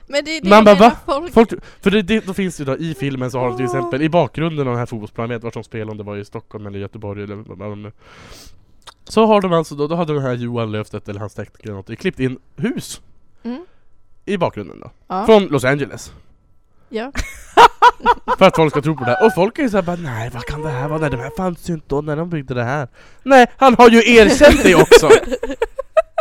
[SPEAKER 2] Men det är det
[SPEAKER 3] Man
[SPEAKER 2] jag
[SPEAKER 3] bara,
[SPEAKER 2] menar,
[SPEAKER 3] va?
[SPEAKER 2] folk...
[SPEAKER 3] Folk, för det, det, då finns det ju då, i filmen så har de till exempel i bakgrunden av den här fotbollsplanen, jag vet vart de spelar om det var i Stockholm eller Göteborg eller vad de nu Så har de alltså, då, då har den här Johan Löfstedt eller hans tekniker eller något, klippt in hus
[SPEAKER 2] Mm.
[SPEAKER 3] i bakgrunden då.
[SPEAKER 2] Ja.
[SPEAKER 3] Från Los Angeles.
[SPEAKER 2] Ja.
[SPEAKER 3] För att folk ska tro på det här. Och folk är ju såhär bara nej vad kan det här vara? Nej det här fanns ju inte då när de byggde det här. Nej han har ju erkänt det också!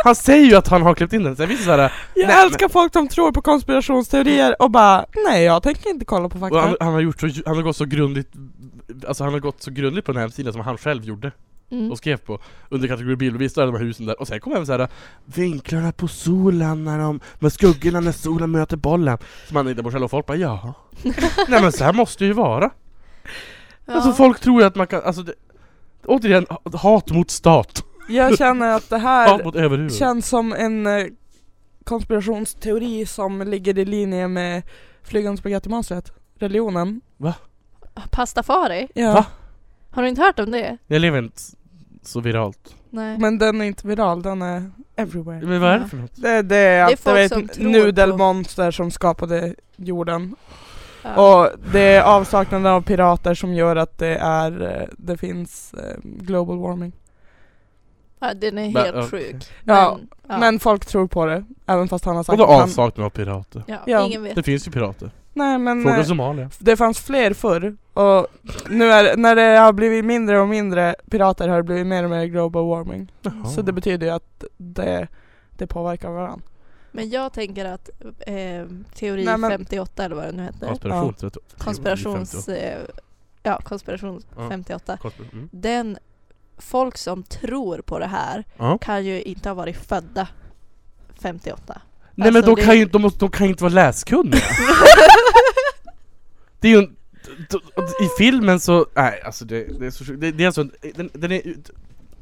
[SPEAKER 3] Han säger ju att han har klippt in den, sen finns det såhär
[SPEAKER 4] Jag
[SPEAKER 3] Nej,
[SPEAKER 4] älskar folk som tror på konspirationsteorier och bara nej jag tänker inte kolla på
[SPEAKER 3] Och
[SPEAKER 4] fakta.
[SPEAKER 3] han, han, har gjort så, han har gått så grundligt Alltså han har gått så grundligt på den här hemsidan som han själv gjorde
[SPEAKER 2] Mm.
[SPEAKER 3] och skrev på Under kategori bild och visade de här husen där och sen kom även såhär Vinklarna på solen när de, med skuggorna när solen möter bollen Som han hittade på själv och folk bara ja Nej men så här måste det ju vara
[SPEAKER 2] Ja.
[SPEAKER 3] Alltså folk tror ju att man kan, alltså det, Återigen, ha- hat mot stat,
[SPEAKER 4] Jag känner att det
[SPEAKER 3] hat
[SPEAKER 4] här
[SPEAKER 3] mot överhuvud
[SPEAKER 4] känns som en eh, konspirationsteori som ligger i linje med flygande spagettimonstret, religionen.
[SPEAKER 2] Pastafari?
[SPEAKER 4] Ja.
[SPEAKER 3] Va?
[SPEAKER 2] Har du inte hört om det?
[SPEAKER 3] Jag lever inte så viralt
[SPEAKER 2] Nej.
[SPEAKER 4] Men den är inte viral, den är everywhere.
[SPEAKER 3] Men vad är det för något?
[SPEAKER 4] Det, det är att
[SPEAKER 2] folk
[SPEAKER 4] det
[SPEAKER 2] som
[SPEAKER 4] är
[SPEAKER 2] tror
[SPEAKER 4] nudelmonster som skapade jorden.
[SPEAKER 2] Ja.
[SPEAKER 4] Och det är avsaknaden av pirater som gör att det, är, eh, det finns eh, global warming.
[SPEAKER 2] Ja, den är
[SPEAKER 3] Men,
[SPEAKER 2] helt
[SPEAKER 3] ja.
[SPEAKER 2] sjuk.
[SPEAKER 4] Ja,
[SPEAKER 2] Men,
[SPEAKER 4] Men folk tror på det, även fast han har sagt
[SPEAKER 3] Vadå
[SPEAKER 4] att han...
[SPEAKER 3] avsaknad av pirater?
[SPEAKER 2] ja.
[SPEAKER 4] ja.
[SPEAKER 2] ingen vet.
[SPEAKER 3] Det finns ju pirater,
[SPEAKER 4] Nej men
[SPEAKER 3] fråga
[SPEAKER 4] eh,
[SPEAKER 3] Somalia
[SPEAKER 4] det fanns fler förr och nu är, det- när det har blivit mindre och mindre pirater har det blivit mer och mer global warming. Så
[SPEAKER 3] Oh.
[SPEAKER 4] det betyder ju att det, det påverkar varandra.
[SPEAKER 2] Men jag tänker att eh, teori
[SPEAKER 4] Nej, men-
[SPEAKER 2] 58 eller vad det nu heter.
[SPEAKER 3] Konspiration, ja.
[SPEAKER 2] Konspirations... Eh, ja, konspiration
[SPEAKER 3] Ja.
[SPEAKER 2] 58.
[SPEAKER 3] Konspiration. Mm.
[SPEAKER 2] Den folk som tror på det här
[SPEAKER 3] Ja.
[SPEAKER 2] kan ju inte ha varit födda 58.
[SPEAKER 3] Nej men
[SPEAKER 2] Alltså,
[SPEAKER 3] de
[SPEAKER 2] det-
[SPEAKER 3] kan ju de måste, de kan ju inte vara läskunniga. det är ju en, d- d- I filmen så, nej alltså det, det är så sjukt. det, det är alltså, en- den, den är ut-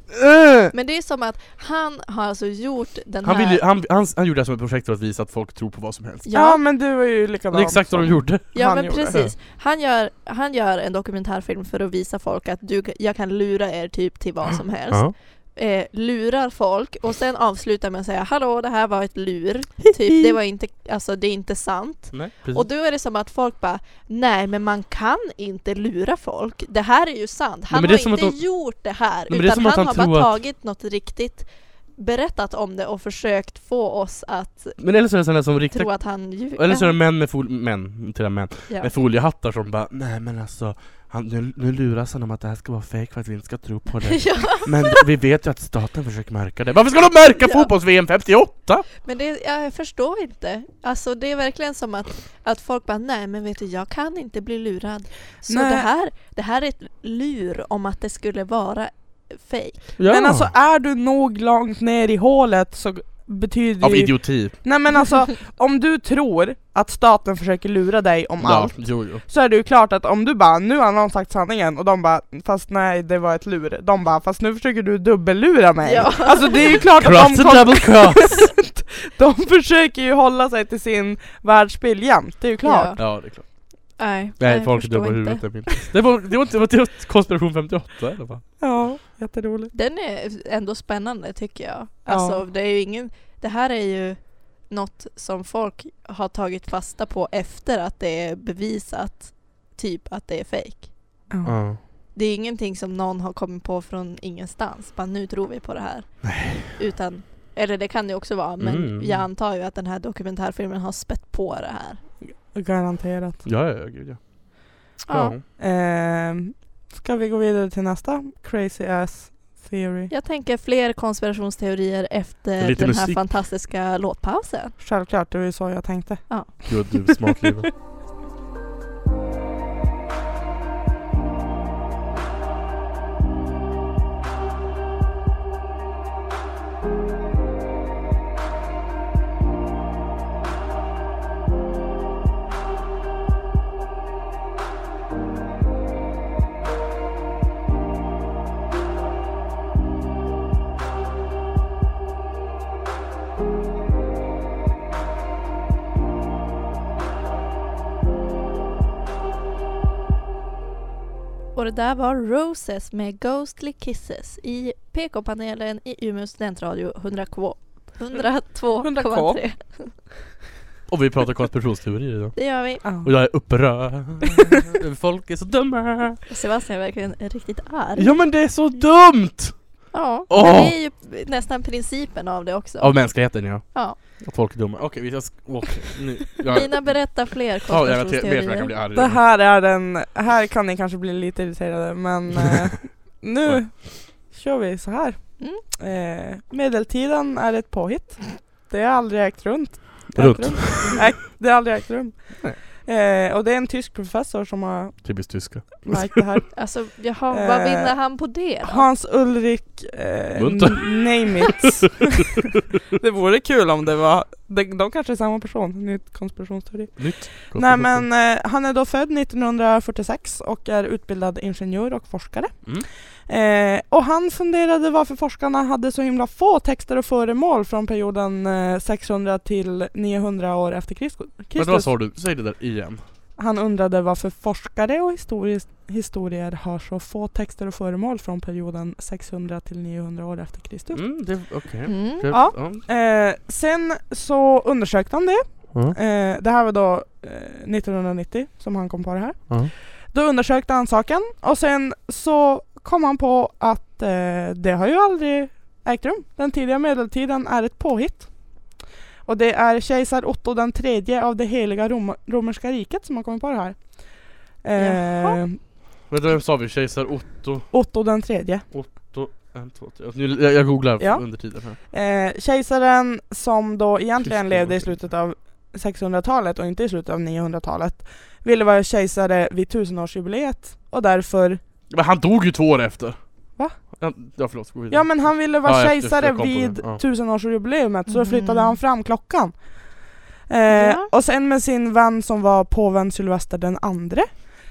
[SPEAKER 3] Äh!
[SPEAKER 2] Men det är som att han har alltså gjort den
[SPEAKER 3] han,
[SPEAKER 2] här...
[SPEAKER 3] vill ju, han, han, han gjorde det här som ett projekt för att visa att folk tror på vad som helst.
[SPEAKER 4] Ja,
[SPEAKER 2] Ja,
[SPEAKER 4] men du var ju
[SPEAKER 3] Det
[SPEAKER 4] likadan.
[SPEAKER 3] är exakt vad de gjorde.
[SPEAKER 2] ja
[SPEAKER 4] han
[SPEAKER 2] men
[SPEAKER 4] gjorde.
[SPEAKER 2] precis. Han gör, han gör en dokumentärfilm för att visa folk att du, jag kan lura er typ till vad som helst.
[SPEAKER 3] Ja.
[SPEAKER 2] eh, lurar folk och sen avslutar med att säga hallå det här var ett lur, typ, det, var inte, alltså, det är inte sant.
[SPEAKER 3] Nej, precis.
[SPEAKER 2] Och då är det som att folk bara nej men man kan inte lura folk, det här är ju sant, han
[SPEAKER 3] men det är
[SPEAKER 2] har
[SPEAKER 3] som
[SPEAKER 2] inte
[SPEAKER 3] att de-
[SPEAKER 2] gjort det här
[SPEAKER 3] men det är
[SPEAKER 2] utan
[SPEAKER 3] som att
[SPEAKER 2] han,
[SPEAKER 3] han
[SPEAKER 2] har
[SPEAKER 3] tror
[SPEAKER 2] bara
[SPEAKER 3] att-
[SPEAKER 2] tagit något riktigt berättat om det och försökt få oss att
[SPEAKER 3] Men eller så är det sådana som riktiga
[SPEAKER 2] tro att han ljuger.
[SPEAKER 3] Eller så är det män med, fol män, till och med män,
[SPEAKER 2] Ja.
[SPEAKER 3] med foliehattar som bara Nej men alltså, han, nu, nu luras han om att det här ska vara fejk för att vi inte ska tro på det
[SPEAKER 2] ja,
[SPEAKER 3] Men vi vet ju att staten försöker märka det Varför ska de märka
[SPEAKER 2] Ja.
[SPEAKER 3] fotbolls-VM 58?
[SPEAKER 2] men det, ja, jag förstår inte. Alltså det är verkligen som att, att folk bara nej men vet du jag kan inte bli lurad. Så
[SPEAKER 4] Nej.
[SPEAKER 2] det här, det här är ett lur om att det skulle vara fejk.
[SPEAKER 3] Ja.
[SPEAKER 4] Men alltså är du nog långt ner i hålet så betyder
[SPEAKER 3] Av
[SPEAKER 4] ju...
[SPEAKER 3] idioti
[SPEAKER 4] Nej men alltså, om du tror att staten försöker lura dig om allt
[SPEAKER 3] jo, jo.
[SPEAKER 4] så är det ju klart att om du bara nu har någon sagt sanningen och de bara fast nej det var ett lur De bara fast nu försöker du dubbellura mig
[SPEAKER 2] Ja.
[SPEAKER 4] Alltså det är ju klart att
[SPEAKER 3] Cross
[SPEAKER 4] de,
[SPEAKER 3] the
[SPEAKER 4] kom,
[SPEAKER 3] double cross!
[SPEAKER 4] de försöker ju hålla sig till sin världsbild jämt, det är ju klart
[SPEAKER 2] Ja.
[SPEAKER 3] ja det är klart
[SPEAKER 2] Nej,
[SPEAKER 3] Nej,
[SPEAKER 2] jag
[SPEAKER 3] folk är
[SPEAKER 2] förstår
[SPEAKER 3] dumma
[SPEAKER 2] inte.
[SPEAKER 3] i huvudet jag minns. Det var, det var inte, det var inte konspiration 58 i alla fall
[SPEAKER 4] Ja, jätteroligt
[SPEAKER 2] Den är ändå spännande tycker jag. Alltså det är ju ingen, det här är ju något som folk har tagit fasta på efter att det är bevisat typ att det är fejk.
[SPEAKER 3] Ja.
[SPEAKER 2] Det är ingenting som någon har kommit på från ingenstans. Bara nu tror vi på det här. Utan, eller det kan det också vara, men
[SPEAKER 3] Mm.
[SPEAKER 2] jag antar ju att den här dokumentärfilmen har spett på det här.
[SPEAKER 4] Garanterat
[SPEAKER 3] Ja, ja, ja, gud ja.
[SPEAKER 2] Ja,
[SPEAKER 4] Ehm, Ska vi gå vidare till nästa crazy ass theory?
[SPEAKER 2] Jag tänker fler konspirationsteorier efter
[SPEAKER 3] Lite
[SPEAKER 2] den här
[SPEAKER 3] musik.
[SPEAKER 2] fantastiska låtpausen.
[SPEAKER 4] Självklart, det var ju så jag tänkte
[SPEAKER 3] Gud, du är smart livet.
[SPEAKER 2] Och det där var Roses med Ghostly Kisses i PK-panelen i Umeå studentradio 100K. 102,3.
[SPEAKER 3] Och vi pratar konspirationsteorier idag
[SPEAKER 2] Det gör vi.
[SPEAKER 4] Ja.
[SPEAKER 3] Och jag är upprörd Folk är så dumma
[SPEAKER 2] Sebastian är verkligen riktigt arg.
[SPEAKER 3] Ja men det är så dumt!
[SPEAKER 2] Ja,
[SPEAKER 3] Åh!
[SPEAKER 2] men det är ju nästan principen av det också.
[SPEAKER 3] Av mänskligheten ja.
[SPEAKER 2] Ja.
[SPEAKER 3] Att folk är dumma. Okej, vi ska... Okej, nu. Jag,
[SPEAKER 2] Lina, berätta fler
[SPEAKER 3] ja, jag vet, vet
[SPEAKER 2] konspirationsteorier.
[SPEAKER 3] att jag kan bli arg.
[SPEAKER 4] Det här är den, här kan ni kanske bli lite irriterade men eh, nu kör vi så här.
[SPEAKER 2] Mm.
[SPEAKER 4] Eh, medeltiden är ett påhitt. Det har aldrig ägt runt.
[SPEAKER 3] Runt.
[SPEAKER 4] Ägt rum. Nej, det har aldrig ägt rum.
[SPEAKER 3] Nej.
[SPEAKER 4] Eh, och det är en tysk professor som har
[SPEAKER 3] Typiskt tyska.
[SPEAKER 4] märkt det här.
[SPEAKER 2] Alltså, jaha, vad
[SPEAKER 4] Eh,
[SPEAKER 2] vinner han på det då?
[SPEAKER 4] Hans Ulrik eh,
[SPEAKER 3] Munter.
[SPEAKER 4] n- name it. det vore kul om det var, de, de kanske är samma person, nytt konspirationsteori.
[SPEAKER 3] Nytt.
[SPEAKER 4] Nej men eh, han är då född 1946 och är utbildad ingenjör och forskare.
[SPEAKER 3] Mm.
[SPEAKER 4] Eh, och han funderade varför forskarna hade så himla få texter och föremål från perioden eh, 600 till 900 år efter Kristus.
[SPEAKER 3] Men vad sa du? Säg det där igen.
[SPEAKER 4] Han undrade varför forskare och historis- historier har så få texter och föremål från perioden 600 till 900 år efter Kristus.
[SPEAKER 3] Mm, det... Okej.
[SPEAKER 2] Mm.
[SPEAKER 3] Det-
[SPEAKER 4] Ja. Eh, sen så undersökte han det.
[SPEAKER 3] Ja.
[SPEAKER 4] Eh, det här var då eh, 1990 som han kom på det här.
[SPEAKER 3] Ja.
[SPEAKER 4] Då undersökte han saken och sen så kom han på att eh, det har ju aldrig ägt rum. Den tidiga medeltiden är ett påhitt. Och det är kejsar Otto den tredje av det heliga Rom- romerska riket som har kommit på det här. Eh,
[SPEAKER 2] Jaha.
[SPEAKER 3] Vänta, vem sa vi? Kejsar Otto?
[SPEAKER 4] Otto den tredje.
[SPEAKER 3] Otto? En, två, tre. Nu, jag, jag googlar
[SPEAKER 4] Ja.
[SPEAKER 3] under tiden här.
[SPEAKER 4] Eh, kejsaren som då egentligen
[SPEAKER 3] Kristi
[SPEAKER 4] levde i
[SPEAKER 3] århundrade.
[SPEAKER 4] slutet av 600-talet och inte i slutet av 900-talet ville vara kejsare vid tusenårsjubileet och därför
[SPEAKER 3] Men han dog ju två år efter.
[SPEAKER 4] Va?
[SPEAKER 3] Ja, ja förlåt, gå vidare.
[SPEAKER 4] Ja men han ville vara
[SPEAKER 3] Ja, jag- jag
[SPEAKER 4] kejsare
[SPEAKER 3] kom på det.
[SPEAKER 4] vid
[SPEAKER 3] Ja.
[SPEAKER 4] tusenårsjubileumet så
[SPEAKER 2] Mm.
[SPEAKER 4] flyttade han fram klockan. Eh,
[SPEAKER 2] Ja.
[SPEAKER 4] Och sen med sin vän som var påven Sylvester den andre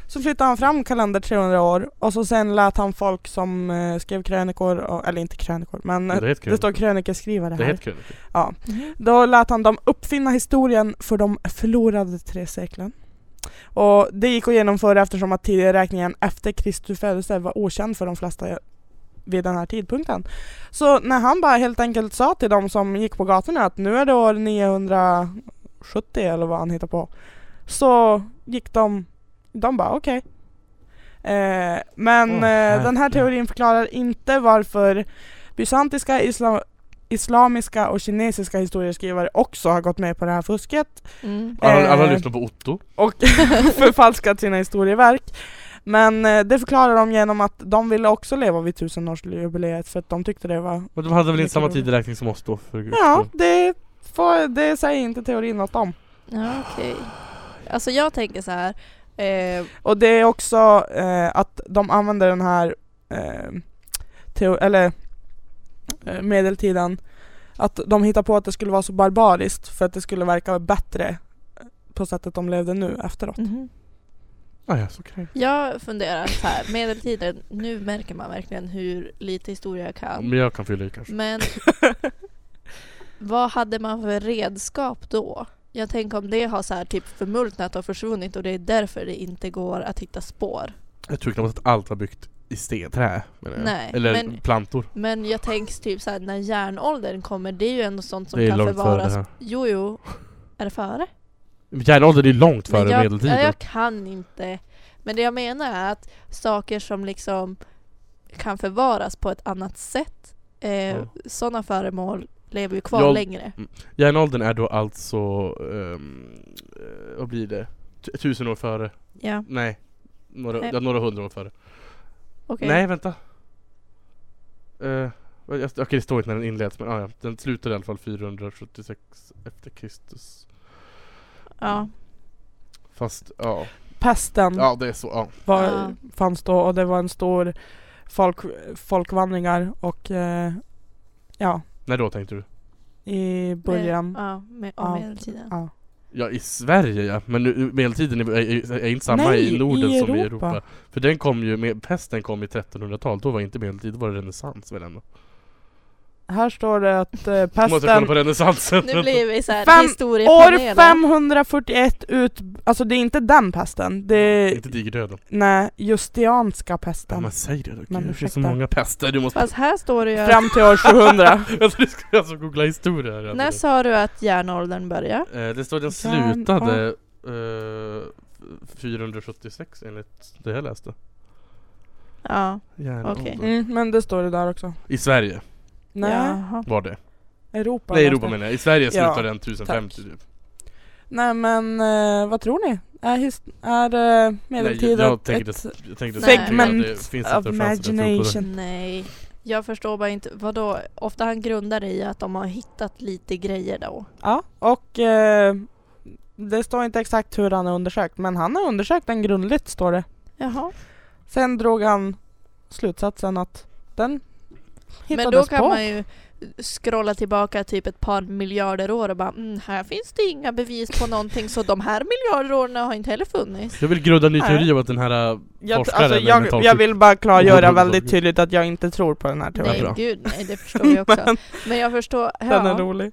[SPEAKER 4] så flyttade han fram kalender 300 år och så sen lät han folk som eh, skrev krönikor, och, eller inte krönikor men
[SPEAKER 3] Men
[SPEAKER 4] eh,
[SPEAKER 3] det är helt
[SPEAKER 4] det
[SPEAKER 3] kul.
[SPEAKER 4] står krönikeskrivare
[SPEAKER 3] Det är
[SPEAKER 4] här.
[SPEAKER 3] helt kul.
[SPEAKER 4] Då lät han dem uppfinna historien för de förlorade tre seklen. Och det gick att genomföra eftersom att tideräkningen efter Kristus födelse var okänd för de flesta vid den här tidpunkten. Så när han bara helt enkelt sa till de som gick på gatorna att nu är det år 970 eller vad han hittar på. Så gick de, de bara okej. Eh, men
[SPEAKER 3] Åh,
[SPEAKER 4] eh, den här
[SPEAKER 3] herregud.
[SPEAKER 4] teorin förklarar inte varför bysantiska, isla, islamiska och kinesiska historieskrivare också har gått med på det här fusket
[SPEAKER 2] Mm.
[SPEAKER 3] Alla, alla
[SPEAKER 4] Eh.
[SPEAKER 3] lyssnar på Otto.
[SPEAKER 4] och förfalskat sina historieverk. Men eh, det förklarar de genom att de ville också leva vid tusenårsjubileet för att de tyckte det var...
[SPEAKER 3] Men de hade väl inte
[SPEAKER 4] Mycket
[SPEAKER 3] samma
[SPEAKER 4] roligt.
[SPEAKER 3] tideräkning som oss då? För guds
[SPEAKER 4] Ja,
[SPEAKER 3] skull.
[SPEAKER 4] det, får, det säger inte teorin något om.
[SPEAKER 2] Ja, okej. Alltså jag tänker så här. Eh,
[SPEAKER 4] Och det är också eh, att de använder den här eh, teo- eller eh, medeltiden att de hittar på att det skulle vara så barbariskt för att det skulle verka bättre på sättet de levde nu efteråt.
[SPEAKER 2] Mm-hmm.
[SPEAKER 3] Ah, ja, så kan
[SPEAKER 2] Jag funderar så här, medeltiden, nu märker man verkligen hur lite historia jag
[SPEAKER 3] jag.
[SPEAKER 2] kan.
[SPEAKER 3] Men jag kan fylla i kanske.
[SPEAKER 2] Men vad hade man för redskap då? Jag tänker om det har så här typ förmultnat och försvunnit och det är därför det inte går att hitta spår.
[SPEAKER 3] Jag tror knappt att allt var byggt i sten, trä. menar jag.
[SPEAKER 2] Nej,
[SPEAKER 3] Eller
[SPEAKER 2] men-
[SPEAKER 3] plantor.
[SPEAKER 2] Men jag tänker typ så här när järnåldern kommer, det är ju ändå sånt som
[SPEAKER 3] Det är
[SPEAKER 2] kan
[SPEAKER 3] långt före det
[SPEAKER 2] förvaras.
[SPEAKER 3] här.
[SPEAKER 2] Jo, jo. Är det före?
[SPEAKER 3] Järnåldern är ju långt före
[SPEAKER 2] Men jag,
[SPEAKER 3] medeltiden.
[SPEAKER 2] ja, Jag kan inte. Men det jag menar är att saker som liksom kan förvaras på ett annat sätt, eh,
[SPEAKER 3] Ja.
[SPEAKER 2] sådana föremål lever ju kvar
[SPEAKER 3] Jag-
[SPEAKER 2] längre.
[SPEAKER 3] Järnåldern är då alltså, ehm, eh, vad blir det? Tu- Tusen år före?
[SPEAKER 2] Ja,
[SPEAKER 3] Nej, några,
[SPEAKER 2] Nej.
[SPEAKER 3] Ja, några hundra år före.
[SPEAKER 2] okej.
[SPEAKER 3] Nej, vänta. Uh, Okej, det står inte när den inleds, men ah, ja, den slutar i alla fall 476 efter Kristus.
[SPEAKER 2] Ja.
[SPEAKER 3] Fast ja,
[SPEAKER 2] Mm.
[SPEAKER 4] Pesten
[SPEAKER 3] ja det är så. Ja.
[SPEAKER 4] var,
[SPEAKER 2] Ja.
[SPEAKER 4] fanns då och det var en stor folk, folkvandringar och eh, ja,
[SPEAKER 3] När då tänkte du?
[SPEAKER 4] i början.
[SPEAKER 2] Eh, Ja, med,
[SPEAKER 4] Ja.
[SPEAKER 2] av medeltiden.
[SPEAKER 4] Ja.
[SPEAKER 3] Ja, i Sverige ja. Men nu, medeltiden är, är, är inte samma
[SPEAKER 4] Nej,
[SPEAKER 3] i Norden
[SPEAKER 4] i
[SPEAKER 3] som i
[SPEAKER 4] Europa.
[SPEAKER 3] Europa. För den kom ju, med, pesten kom i 1300-talet, då var inte medeltid, då var det renässans väl ändå.
[SPEAKER 4] Här står det att eh,
[SPEAKER 3] Man måste kolla
[SPEAKER 4] pesten
[SPEAKER 3] på renässansen.
[SPEAKER 2] Nu blir vi så här
[SPEAKER 4] Fem-
[SPEAKER 2] historiepanelen.
[SPEAKER 4] År 541 ut... Alltså det är inte den pesten. Det är...
[SPEAKER 3] Inte digerdöden.
[SPEAKER 4] Nej, justianska
[SPEAKER 3] Ja,
[SPEAKER 4] pesten.
[SPEAKER 3] men säg det då.
[SPEAKER 4] Men
[SPEAKER 3] Gud, det finns så
[SPEAKER 4] ursäkta.
[SPEAKER 3] många pester. Du måste...
[SPEAKER 2] Fast här står det ju att,
[SPEAKER 4] Fram till år 700.
[SPEAKER 3] Alltså, du ska alltså googla historia här.
[SPEAKER 2] när
[SPEAKER 3] Alltså.
[SPEAKER 2] sa du att järnåldern börjar?
[SPEAKER 3] Eh, det står den
[SPEAKER 4] Järn-
[SPEAKER 3] slutade eh, 476 enligt det jag läste.
[SPEAKER 2] Ja,
[SPEAKER 3] Järnåldern.
[SPEAKER 2] Okej.
[SPEAKER 4] Mm, men det står det där också.
[SPEAKER 3] I Sverige
[SPEAKER 4] Nej,
[SPEAKER 2] jaha.
[SPEAKER 3] var det.
[SPEAKER 4] Europa.
[SPEAKER 3] Nej,
[SPEAKER 4] var
[SPEAKER 3] Europa
[SPEAKER 4] det.
[SPEAKER 3] menar jag. I Sverige
[SPEAKER 4] Ja,
[SPEAKER 3] slutade den 1050 typ.
[SPEAKER 4] Nej men eh, vad tror ni? Är, his- är eh, medeltiden
[SPEAKER 3] Nej, jag tänker
[SPEAKER 4] ett...
[SPEAKER 3] det, jag tänker
[SPEAKER 2] Nej.
[SPEAKER 3] det, segment det
[SPEAKER 4] Segment
[SPEAKER 3] finns inte
[SPEAKER 4] of
[SPEAKER 3] en chans att jag tror på det.
[SPEAKER 4] imagination.
[SPEAKER 2] Nej, jag förstår bara inte. Vadå? Ofta han grundar det i att de har hittat lite grejer då.
[SPEAKER 4] Ja, och eh, det står inte exakt hur han är undersökt men han har undersökt den grundligt står det.
[SPEAKER 2] Jaha.
[SPEAKER 4] Sen drog han slutsatsen att den hittades
[SPEAKER 2] Men då kan
[SPEAKER 4] på.
[SPEAKER 2] man ju scrolla tillbaka typ ett par miljarder år och bara mm, här finns det inga bevis på någonting så de här miljarder åren har inte heller funnits.
[SPEAKER 3] Jag vill grunda en ny
[SPEAKER 4] Nej.
[SPEAKER 3] teori om att den här äh,
[SPEAKER 4] Jag,
[SPEAKER 3] forskaren
[SPEAKER 4] alltså,
[SPEAKER 3] med
[SPEAKER 4] jag,
[SPEAKER 3] mental
[SPEAKER 4] jag vill bara klargöra
[SPEAKER 3] Oberoende
[SPEAKER 4] väldigt
[SPEAKER 3] forskare.
[SPEAKER 4] tydligt att jag inte tror på den här teorin.
[SPEAKER 2] Nej gud, nej det förstår jag också. Men jag förstår,
[SPEAKER 4] Den är
[SPEAKER 2] ja,
[SPEAKER 4] rolig.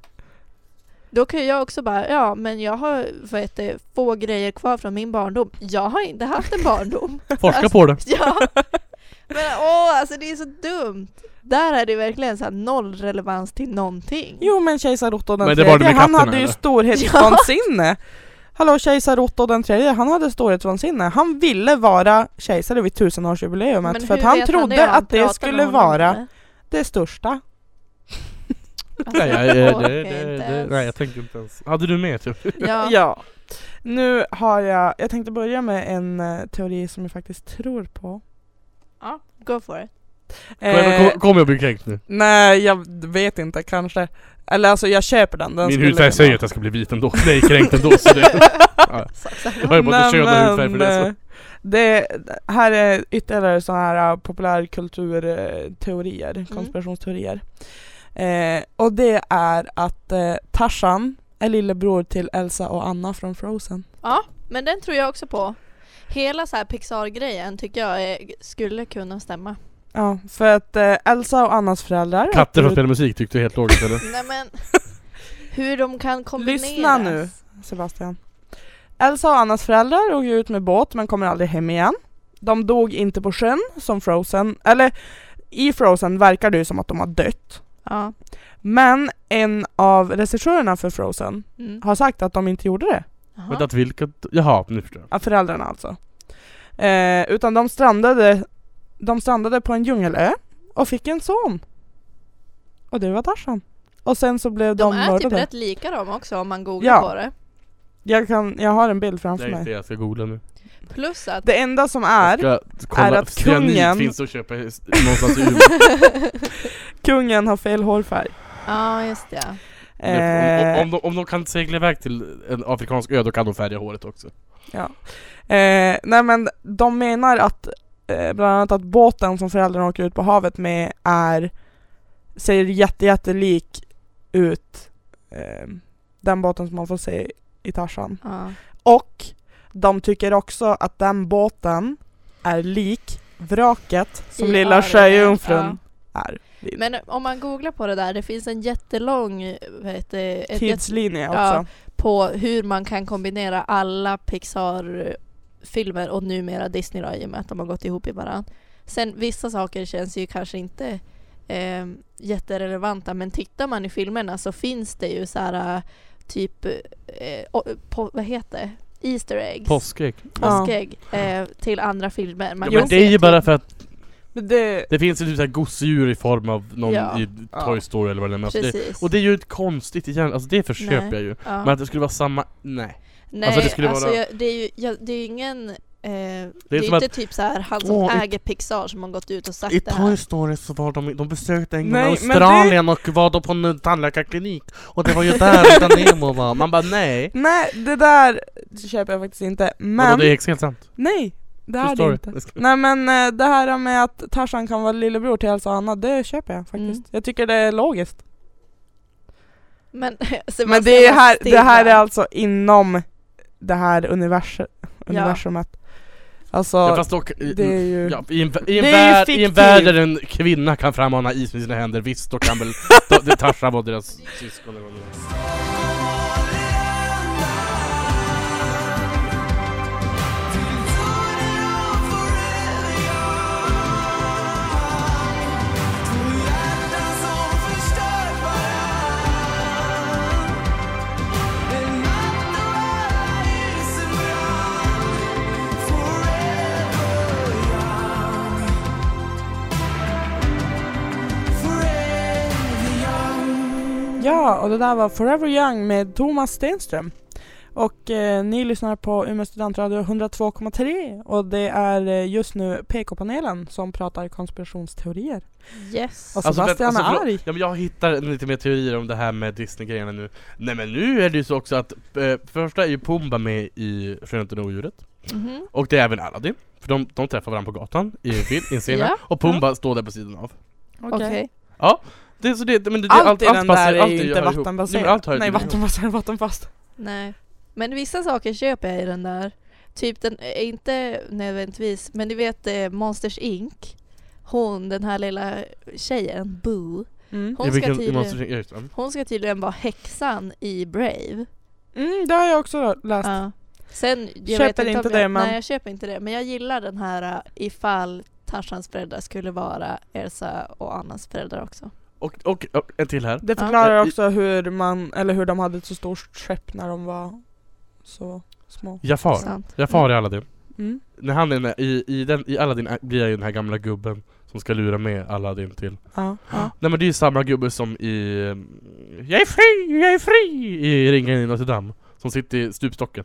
[SPEAKER 2] då kan ju jag också bara, ja men jag har vad heter, det, få grejer kvar från min barndom. Jag har inte haft en barndom.
[SPEAKER 3] Forska äh, på det.
[SPEAKER 2] Ja. Men åh, alltså det är så dumt. Där är det verkligen så här noll relevans till någonting.
[SPEAKER 4] Jo men kejsar Otto den
[SPEAKER 3] Men det var det
[SPEAKER 4] tredje,
[SPEAKER 3] med
[SPEAKER 4] han
[SPEAKER 3] katterna,
[SPEAKER 4] hade ju
[SPEAKER 3] eller?
[SPEAKER 4] storhetsvansinne. Hallå kejsar Otto den tredje, han hade storhetsvansinne. Han ville vara kejsare vid tusenårsjubileumet för att
[SPEAKER 2] hur
[SPEAKER 4] han
[SPEAKER 2] vet
[SPEAKER 4] trodde
[SPEAKER 2] det? Han
[SPEAKER 4] att det
[SPEAKER 2] pratar med
[SPEAKER 4] skulle
[SPEAKER 2] honom,
[SPEAKER 4] vara
[SPEAKER 2] eller?
[SPEAKER 4] det största.
[SPEAKER 2] Alltså,
[SPEAKER 3] Nej, jag, jag,
[SPEAKER 2] orkar
[SPEAKER 3] det, det,
[SPEAKER 2] inte
[SPEAKER 3] det,
[SPEAKER 2] ens.
[SPEAKER 3] nej, jag tänker inte ens. Hade du mer typ?
[SPEAKER 2] Ja.
[SPEAKER 4] Ja. Nu har jag, jag tänkte börja med en eh, teori som jag faktiskt tror på.
[SPEAKER 2] ja, go for it.
[SPEAKER 4] Eh,
[SPEAKER 3] Kommer kom jag bli kränkt nu?
[SPEAKER 4] nej jag vet inte, kanske. Eller alltså jag köper den. den
[SPEAKER 3] Min
[SPEAKER 4] skulle
[SPEAKER 3] hudfärg
[SPEAKER 4] kunna-
[SPEAKER 3] säger att jag ska bli vit ändå. Nej, kränkt ändå. Så det, ja. Jag har ju bara
[SPEAKER 4] Nej,
[SPEAKER 3] inte könad
[SPEAKER 4] men,
[SPEAKER 3] hudfärg för det. Så.
[SPEAKER 4] eh, Det här är ytterligare sådana här eh, populärkulturteorier, konspirationsteorier. Eh, och det är att eh, Tarzan är lillebror till Elsa och Anna från Frozen.
[SPEAKER 2] Ja, men den tror jag också på. Hela så här Pixar-grejen tycker jag är, skulle kunna stämma.
[SPEAKER 4] Ja, för att eh, Elsa och Annas föräldrar...
[SPEAKER 3] Katter som spelar musik tyckte du helt logiskt eller?
[SPEAKER 2] Nej men, hur de kan kombineras.
[SPEAKER 4] Lyssna nu. Sebastian. Elsa och Annas föräldrar åker ut med båt men kommer aldrig hem igen. De dog inte på sjön som Frozen, eller i Frozen verkar det ju som att de har dött.
[SPEAKER 2] Ja.
[SPEAKER 4] Men en av regissörerna för Frozen
[SPEAKER 2] Mm.
[SPEAKER 4] har sagt att de inte gjorde det.
[SPEAKER 2] Jaha.
[SPEAKER 3] Vänta, att vilka? Jaha, nu förstår jag.
[SPEAKER 4] Av föräldrarna alltså. Eh, utan de strandade, de strandade på en djungelö och fick en son. Och det var Tarzan. Och sen så blev de,
[SPEAKER 2] De är typ
[SPEAKER 4] mördade.
[SPEAKER 2] rätt lika de också om man googlar
[SPEAKER 4] Ja.
[SPEAKER 2] på det.
[SPEAKER 4] Jag, kan, jag har en bild framför
[SPEAKER 3] Nej,
[SPEAKER 4] mig.
[SPEAKER 3] inte jag. Jag ska googla nu.
[SPEAKER 2] Plus att...
[SPEAKER 4] Det enda som är
[SPEAKER 3] Jag ska kolla
[SPEAKER 4] är
[SPEAKER 3] att
[SPEAKER 4] att
[SPEAKER 3] cyanid
[SPEAKER 4] kungen-
[SPEAKER 3] finns att köpa i- någonstans i Umeå.
[SPEAKER 4] Kungen har fel hårfärg.
[SPEAKER 2] Ja, just det.
[SPEAKER 3] om,
[SPEAKER 4] Eh,
[SPEAKER 3] om, de, om de kan segla iväg till en afrikansk ö, då kan de färga håret också.
[SPEAKER 4] eh, nej men de menar att eh, bland annat att båten som föräldrarna åker ut på havet med är ser jätte, jättelik ut eh, den båten som man får se i Tarzan.
[SPEAKER 2] Ja.
[SPEAKER 4] Och de tycker också att den båten är lik vraket som
[SPEAKER 2] I
[SPEAKER 4] lilla
[SPEAKER 2] Ariel,
[SPEAKER 4] sjöjungfrun är. vid.
[SPEAKER 2] Men om man googlar på det där, det finns en jättelång vad heter, det, ett, ett,
[SPEAKER 4] Tidslinje också.
[SPEAKER 2] ja. på hur man kan kombinera alla Pixar-filmer och numera Disney då, i och med att de har gått ihop i varandra. Sen vissa saker känns ju kanske inte eh, jätterelevanta men tittar man i filmerna så finns det ju så här eh, typ, eh, o- på, vad heter det? Easter eggs.
[SPEAKER 3] Påskägg.
[SPEAKER 2] Påskägg eh, till andra filmer. Man
[SPEAKER 3] Ja,
[SPEAKER 2] kan
[SPEAKER 3] men det
[SPEAKER 2] se
[SPEAKER 3] är ju
[SPEAKER 2] typ-
[SPEAKER 3] bara för att
[SPEAKER 4] Men det,
[SPEAKER 3] det finns ju typ såhär gosedjur i form av någon
[SPEAKER 2] Ja.
[SPEAKER 3] i Toy Story eller vad det är. men Alltså det,
[SPEAKER 2] Precis.
[SPEAKER 3] och det är ju ett konstigt igen, alltså det förköper
[SPEAKER 2] Nej.
[SPEAKER 3] jag ju.
[SPEAKER 2] ja.
[SPEAKER 3] Men att det skulle vara samma, nej.
[SPEAKER 2] Nej, alltså
[SPEAKER 3] Alltså, det
[SPEAKER 2] det,
[SPEAKER 3] skulle vara-
[SPEAKER 2] jag, det är ju jag, det är ju ingen... Eh, det är,
[SPEAKER 3] som
[SPEAKER 2] inte typ så här han som
[SPEAKER 3] Åh, i-
[SPEAKER 2] äger Pixar som har gått ut och sagt
[SPEAKER 3] I
[SPEAKER 2] det här.
[SPEAKER 3] Toy Story så var de, de besökte en gång
[SPEAKER 4] Nej, men
[SPEAKER 3] Australien och var då på en tandläkarklinik och det var ju där utan Nemo var. Man bara nej.
[SPEAKER 4] nej, det där köper jag faktiskt inte. Men...
[SPEAKER 3] Vadå, det är helt sant.
[SPEAKER 4] Nej, det är
[SPEAKER 3] Förstår
[SPEAKER 4] det
[SPEAKER 3] du?
[SPEAKER 4] inte. Nej men eh, det här med att Tarzan kan vara lillebror till Elsa och Anna, det köper jag faktiskt.
[SPEAKER 2] Mm.
[SPEAKER 4] Jag tycker det är logiskt.
[SPEAKER 2] Men,
[SPEAKER 4] Men
[SPEAKER 2] Sebastian
[SPEAKER 4] det, är
[SPEAKER 2] var
[SPEAKER 4] här, det
[SPEAKER 2] stilla.
[SPEAKER 4] här är alltså inom det här univers universumet. Alltså,
[SPEAKER 3] Ja, fast dock,
[SPEAKER 4] det är ju...
[SPEAKER 3] Ja, i, en, i, en
[SPEAKER 4] Det är ju
[SPEAKER 3] värld, I en
[SPEAKER 4] fiktivt.
[SPEAKER 3] värld där en kvinna kan frammana is med sina händer, visst då kan väl då- det Tarzan vara deras syskon eller vad det var.
[SPEAKER 4] Ja, och det där var Forever Young med Thomas Stenström. Och eh, ni lyssnar på Umeå studentradio 102,3 och det är eh, just nu PK-panelen som pratar konspirationsteorier.
[SPEAKER 2] Yes.
[SPEAKER 4] Och
[SPEAKER 3] Alltså, för-
[SPEAKER 4] Sebastian
[SPEAKER 3] alltså,
[SPEAKER 4] är
[SPEAKER 3] förlåt.
[SPEAKER 4] arg.
[SPEAKER 3] Ja men jag hittar lite mer teorier om det här med Disney-grejerna nu Nej men nu är det ju så också att eh, första är ju Pumba med i Skönheten och odjuret
[SPEAKER 2] Mhm.
[SPEAKER 3] Och det är även Aladdin För de, de träffar varandra på gatan i en film, i en scen
[SPEAKER 2] Ja.
[SPEAKER 3] Och Pumba står där på sidan av
[SPEAKER 2] Okej.
[SPEAKER 3] det, är så det, men det, det,
[SPEAKER 4] Allt, i den
[SPEAKER 3] passar-
[SPEAKER 4] där är
[SPEAKER 3] allt
[SPEAKER 4] ju inte
[SPEAKER 3] hör ihop. Nej,
[SPEAKER 4] vattenbaserat.
[SPEAKER 3] men allt hör ju
[SPEAKER 4] Nej
[SPEAKER 3] ihop.
[SPEAKER 4] vattenbaserat, vattenfast.
[SPEAKER 2] Nej. Men vissa saker köper jag i den där. Typ den, eh, inte nödvändigtvis, men du vet eh, Monsters Inc. Hon, den här lilla tjejen, Boo.
[SPEAKER 4] Mm.
[SPEAKER 3] Ja,
[SPEAKER 2] Hon ska,
[SPEAKER 3] vilken- i
[SPEAKER 2] tydligen,
[SPEAKER 3] Monsters Inc. Ja, just det.
[SPEAKER 2] hon ska tydligen vara häxan i Brave.
[SPEAKER 4] Mm, det har jag också läst.
[SPEAKER 2] Ja. Sen, jag
[SPEAKER 4] Köper
[SPEAKER 2] vet inte om
[SPEAKER 4] inte
[SPEAKER 2] jag,
[SPEAKER 4] det, men-
[SPEAKER 2] Nej, jag köper inte det. Men jag gillar den här äh, ifall Tarzans föräldrar skulle vara Elsa och Annas föräldrar också.
[SPEAKER 3] Och, och, och en till här
[SPEAKER 4] Det förklarar också hur man, eller hur de hade ett så stort skepp när de var så små.
[SPEAKER 3] Jafar,
[SPEAKER 2] Sant.
[SPEAKER 3] Jafar i Aladdin
[SPEAKER 4] Mm.
[SPEAKER 3] När han är i, i, den, i Aladdin är- blir jag ju den här gamla gubben som ska lura med Aladdin till
[SPEAKER 4] Ja.
[SPEAKER 3] Nej men det är ju samma gubbe som i mm, Jag är fri, jag är fri! I Ringen i Notre Dame Som sitter i stupstocken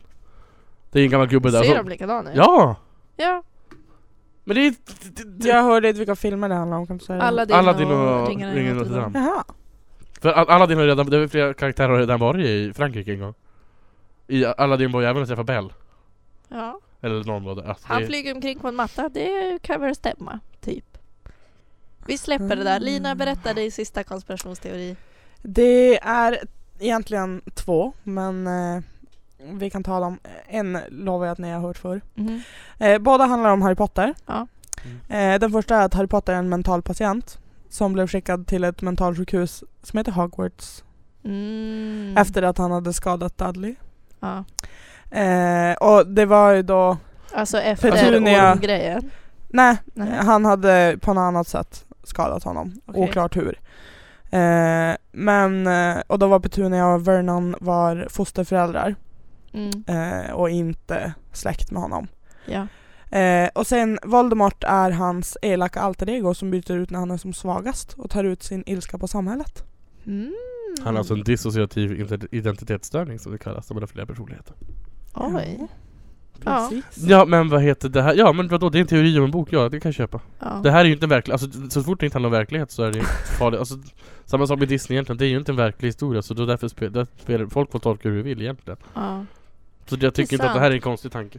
[SPEAKER 3] Det är en gammal gubbe där
[SPEAKER 2] Ser
[SPEAKER 3] som,
[SPEAKER 2] de likadana ut?
[SPEAKER 3] alltså- Ja!
[SPEAKER 2] ja.
[SPEAKER 3] Men det är... Det, det,
[SPEAKER 4] Jag hörde inte vilka filmer det handlar om, kan du säga det?
[SPEAKER 2] Aladdin,
[SPEAKER 3] Aladdin
[SPEAKER 2] och,
[SPEAKER 3] och
[SPEAKER 2] Ringarna
[SPEAKER 3] Ringen i
[SPEAKER 2] i Notre Dame.
[SPEAKER 4] Jaha.
[SPEAKER 3] För Al- Aladdin har redan, det var flera karaktärer har redan varit i Frankrike en gång I Aladdin var ju även och träffade Belle
[SPEAKER 2] Ja.
[SPEAKER 3] Eller någon var det. Alltså,
[SPEAKER 2] Han
[SPEAKER 3] det-
[SPEAKER 2] flyger omkring på en matta, det kan väl stämma, typ. Vi släpper det där.
[SPEAKER 4] Mm.
[SPEAKER 2] Lina berättade i sista konspirationsteori.
[SPEAKER 4] Det är egentligen två, men eh, vi kan ta dem. En lovar jag att ni har hört förr. Eh, båda handlar om Harry Potter.
[SPEAKER 2] Ja.
[SPEAKER 4] Eh, den första är att Harry Potter är en mental patient som blev skickad till ett mentalsjukhus som heter Hogwarts
[SPEAKER 2] Mm.
[SPEAKER 4] efter att han hade skadat Dudley.
[SPEAKER 2] Ja.
[SPEAKER 4] Eh, och det var ju då,
[SPEAKER 2] Alltså efter
[SPEAKER 4] Petunia-
[SPEAKER 2] ormgrejen.
[SPEAKER 4] nej,
[SPEAKER 2] Nej.
[SPEAKER 4] han hade på något annat sätt skadat honom.
[SPEAKER 2] Okej.
[SPEAKER 4] Oklart hur. Eh, men, eh, och då var Petunia och Vernon var fosterföräldrar
[SPEAKER 2] Mm.
[SPEAKER 4] eh, och inte släkt med honom.
[SPEAKER 2] Ja.
[SPEAKER 4] Eh, och sen Voldemort är hans elaka alter ego som byter ut när han är som svagast och tar ut sin ilska på samhället.
[SPEAKER 2] Mm.
[SPEAKER 3] Han har alltså en dissociativ ident- identitetsstörning som det kallas, som har flera personligheter.
[SPEAKER 4] Mm.
[SPEAKER 2] Oj. Ja.
[SPEAKER 3] Ja men vad heter det här? Ja men vadå, det är en teori om en bok, ja det kan jag köpa.
[SPEAKER 2] Ja.
[SPEAKER 3] Det här är ju inte en verklig, alltså så fort det inte handlar om verklighet så är det ju farligt. Alltså, samma sak med Disney egentligen, det är ju inte en verklig historia så då därför spe, där spelar, folk får tolka hur de vill egentligen.
[SPEAKER 2] Ja.
[SPEAKER 3] Så jag tycker inte att det här är en konstig tanke.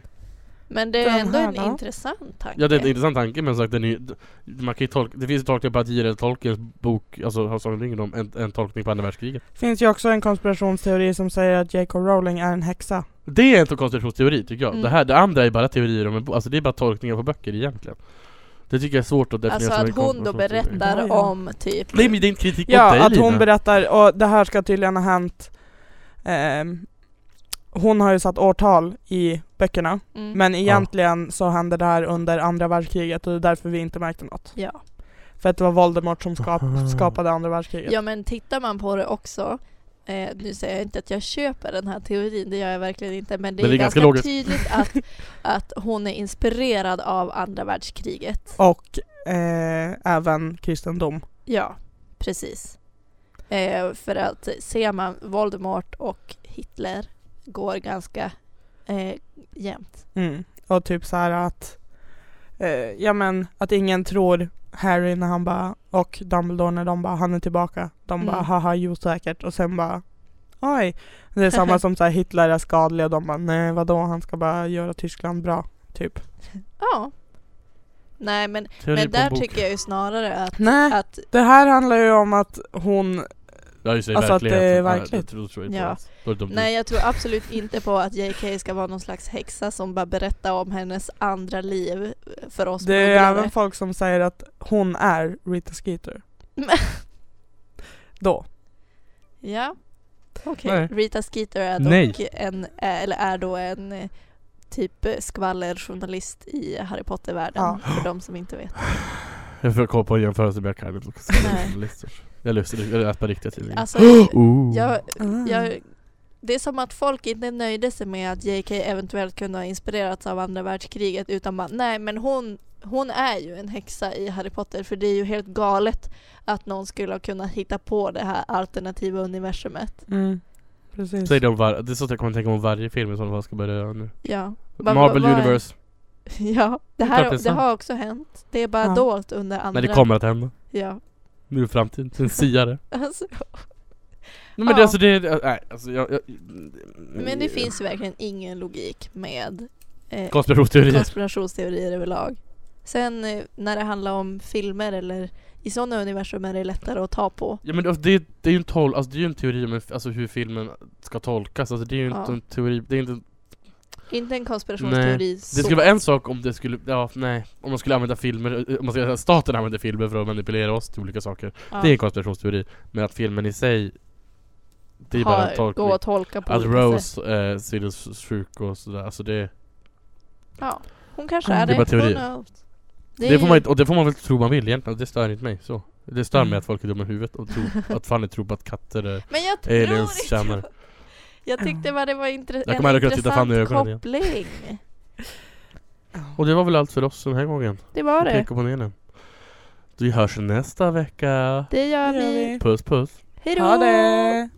[SPEAKER 2] Men det
[SPEAKER 4] Den
[SPEAKER 2] är ändå
[SPEAKER 4] här
[SPEAKER 2] en
[SPEAKER 4] då?
[SPEAKER 2] intressant tanke.
[SPEAKER 3] Ja det är en intressant tanke men sagt, den är ju, d- man kan ju tolka, det finns ju tolkningar på att J.R.R. Tolkiens bok, alltså Hans om ringen om en, en tolkning på andra världskriget.
[SPEAKER 4] Finns ju också en konspirationsteori som säger att J.K. Rowling är en häxa.
[SPEAKER 3] Det är inte en konspirationsteori tycker jag.
[SPEAKER 2] Mm.
[SPEAKER 3] Det, här, det andra är bara teorier om en bok, alltså det är bara tolkningar på böcker egentligen. Det tycker jag är svårt att definiera
[SPEAKER 2] alltså
[SPEAKER 3] som
[SPEAKER 2] att
[SPEAKER 3] en
[SPEAKER 2] hon då
[SPEAKER 3] konspirationsteori.
[SPEAKER 2] berättar
[SPEAKER 4] Ja, ja.
[SPEAKER 2] om typ...
[SPEAKER 3] Nej men det är inte kritik mot dig
[SPEAKER 4] Ja, att hon
[SPEAKER 3] Lina.
[SPEAKER 4] berättar, och det här ska tydligen ha hänt. ehm, hon har ju satt årtal i böckerna,
[SPEAKER 2] Mm.
[SPEAKER 4] men egentligen så hände det här under andra världskriget och det är därför vi inte märkte något.
[SPEAKER 2] Ja.
[SPEAKER 4] För att det var Voldemort som skap
[SPEAKER 3] Aha.
[SPEAKER 4] skapade andra världskriget.
[SPEAKER 2] ja men tittar man på det också Eh, nu säger jag inte att jag köper den här teorin, det gör jag verkligen inte. Men det är,
[SPEAKER 3] Men det är
[SPEAKER 2] ganska,
[SPEAKER 3] ganska logiskt.
[SPEAKER 2] tydligt att, att hon är inspirerad av andra världskriget.
[SPEAKER 4] Och eh, även kristendom.
[SPEAKER 2] Ja, precis. Eh, för att ser man Voldemort och Hitler går ganska eh, jämnt.
[SPEAKER 4] Mm. Och typ så här att, eh, ja men att ingen tror Harry när han bara, och Dumbledore när de bara, han är tillbaka. De bara,
[SPEAKER 2] Mm.
[SPEAKER 4] haha jo säkert. Och sen bara, oj. Det är samma som så här, Hitler är skadlig och de bara, nej vadå han ska bara göra Tyskland bra. Typ.
[SPEAKER 2] Ja. Nej men,
[SPEAKER 3] Teori
[SPEAKER 2] men
[SPEAKER 3] på en
[SPEAKER 2] där
[SPEAKER 3] bok.
[SPEAKER 2] tycker jag ju snarare att,
[SPEAKER 4] Nej,
[SPEAKER 2] att
[SPEAKER 4] det här handlar ju om att hon,
[SPEAKER 3] Ja just det,
[SPEAKER 4] Alltså att det är
[SPEAKER 3] verkligheten. Ja,
[SPEAKER 4] verkligt.
[SPEAKER 3] det tror, tror jag inte
[SPEAKER 2] Ja.
[SPEAKER 3] alls. Då är det dumt.
[SPEAKER 2] Nej, jag tror absolut inte på att JK ska vara någon slags häxa som bara berättar om hennes andra liv för oss
[SPEAKER 4] det är ju
[SPEAKER 2] mugglare.
[SPEAKER 4] även folk som säger att hon är Rita Skeeter.
[SPEAKER 2] Men-
[SPEAKER 4] Då.
[SPEAKER 2] Ja, okej.
[SPEAKER 3] Nej.
[SPEAKER 2] Rita Skeeter är dock
[SPEAKER 3] Nej.
[SPEAKER 2] en, eller är då en eh, typ eh, skvallerjournalist i Harry Potter-världen,
[SPEAKER 4] Ja.
[SPEAKER 2] för de som inte vet.
[SPEAKER 3] Jag får kolla på en jämförelse med Carmen också.
[SPEAKER 2] Nej.
[SPEAKER 3] Jag lyssnar, jag läser på riktiga tidningar.
[SPEAKER 2] Alltså,
[SPEAKER 3] oh.
[SPEAKER 2] jag, Eh, jag, det är som att folk inte nöjde sig med att JK eventuellt kunde ha inspirerats av andra världskriget utan bara nej men hon, hon är ju en häxa i Harry Potter för det är ju helt galet att någon skulle ha kunnat hitta på det här alternativa universumet.
[SPEAKER 4] Mm. Precis.
[SPEAKER 3] Säg det om var- det är så att jag kommer tänka om varje film i sådana fall ska börja göra nu.
[SPEAKER 2] Ja. Va- va-
[SPEAKER 3] Marvel
[SPEAKER 2] vad är-
[SPEAKER 3] Universe,
[SPEAKER 2] Ja, det,
[SPEAKER 3] klart
[SPEAKER 2] här,
[SPEAKER 3] det
[SPEAKER 2] det,
[SPEAKER 3] är sant.
[SPEAKER 2] har också hänt. Det är bara
[SPEAKER 4] Ja.
[SPEAKER 2] dolt under andra...
[SPEAKER 3] när det kommer att hända.
[SPEAKER 2] Ja.
[SPEAKER 3] Nu är det framtiden, en siare.
[SPEAKER 2] Alltså,
[SPEAKER 3] Nej men det,
[SPEAKER 2] Ja.
[SPEAKER 3] alltså det, är- nej alltså jag, jag
[SPEAKER 2] men
[SPEAKER 3] Mm.
[SPEAKER 2] det finns ju verkligen ingen logik med eh,
[SPEAKER 3] Konspirationsteorier.
[SPEAKER 2] konspirationsteorier överlag. Sen eh, när det handlar om filmer eller i sådana universum är det lättare att ta på.
[SPEAKER 3] Ja men det, det är ju en tol, alltså det är ju en teori om en- alltså hur filmen ska tolkas, alltså det är ju inte
[SPEAKER 2] Ja.
[SPEAKER 3] en teori, det är inte
[SPEAKER 2] Inte en konspirationsteori så.
[SPEAKER 3] Det skulle vara en sak om det skulle, ja nej, om man skulle använda filmer, eh, om man skulle, staten använder filmer för att manipulera oss till olika saker.
[SPEAKER 2] ja,
[SPEAKER 3] Det är en konspirationsteori, men att filmen i sig Det är ju bara en
[SPEAKER 2] har,
[SPEAKER 3] tolkning
[SPEAKER 2] gå att tolka på
[SPEAKER 3] Att
[SPEAKER 2] olika sätt.
[SPEAKER 3] Rose eh, synes sjuk och sådär, alltså det,
[SPEAKER 2] Ja, hon kanske
[SPEAKER 4] Mm.
[SPEAKER 2] är
[SPEAKER 4] Det
[SPEAKER 2] det.
[SPEAKER 3] är bara teorier.
[SPEAKER 2] Who knows?
[SPEAKER 3] det,
[SPEAKER 2] Det,
[SPEAKER 3] får man, inte- och det får man väl tro man vill egentligen, det stör inte mig så Det stör mig
[SPEAKER 4] Mm.
[SPEAKER 3] att folk är dumma i huvudet och tror, att Fanny tror på att katter är
[SPEAKER 2] Men jag tror
[SPEAKER 3] aliens
[SPEAKER 2] inte...
[SPEAKER 3] tjänar
[SPEAKER 2] Jag tyckte bara det var intre...
[SPEAKER 3] Jag kommer
[SPEAKER 2] en
[SPEAKER 3] aldrig kunna titta fan i
[SPEAKER 2] intressant
[SPEAKER 3] ögonen igen.
[SPEAKER 2] koppling.
[SPEAKER 3] Och det var väl allt för oss den här gången,
[SPEAKER 2] Det var det.
[SPEAKER 3] peka på nenen Vi hörs nästa vecka,
[SPEAKER 2] Det gör
[SPEAKER 4] Det gör
[SPEAKER 2] vi.
[SPEAKER 4] vi.
[SPEAKER 3] puss puss
[SPEAKER 2] Hejdå!
[SPEAKER 4] Ha det!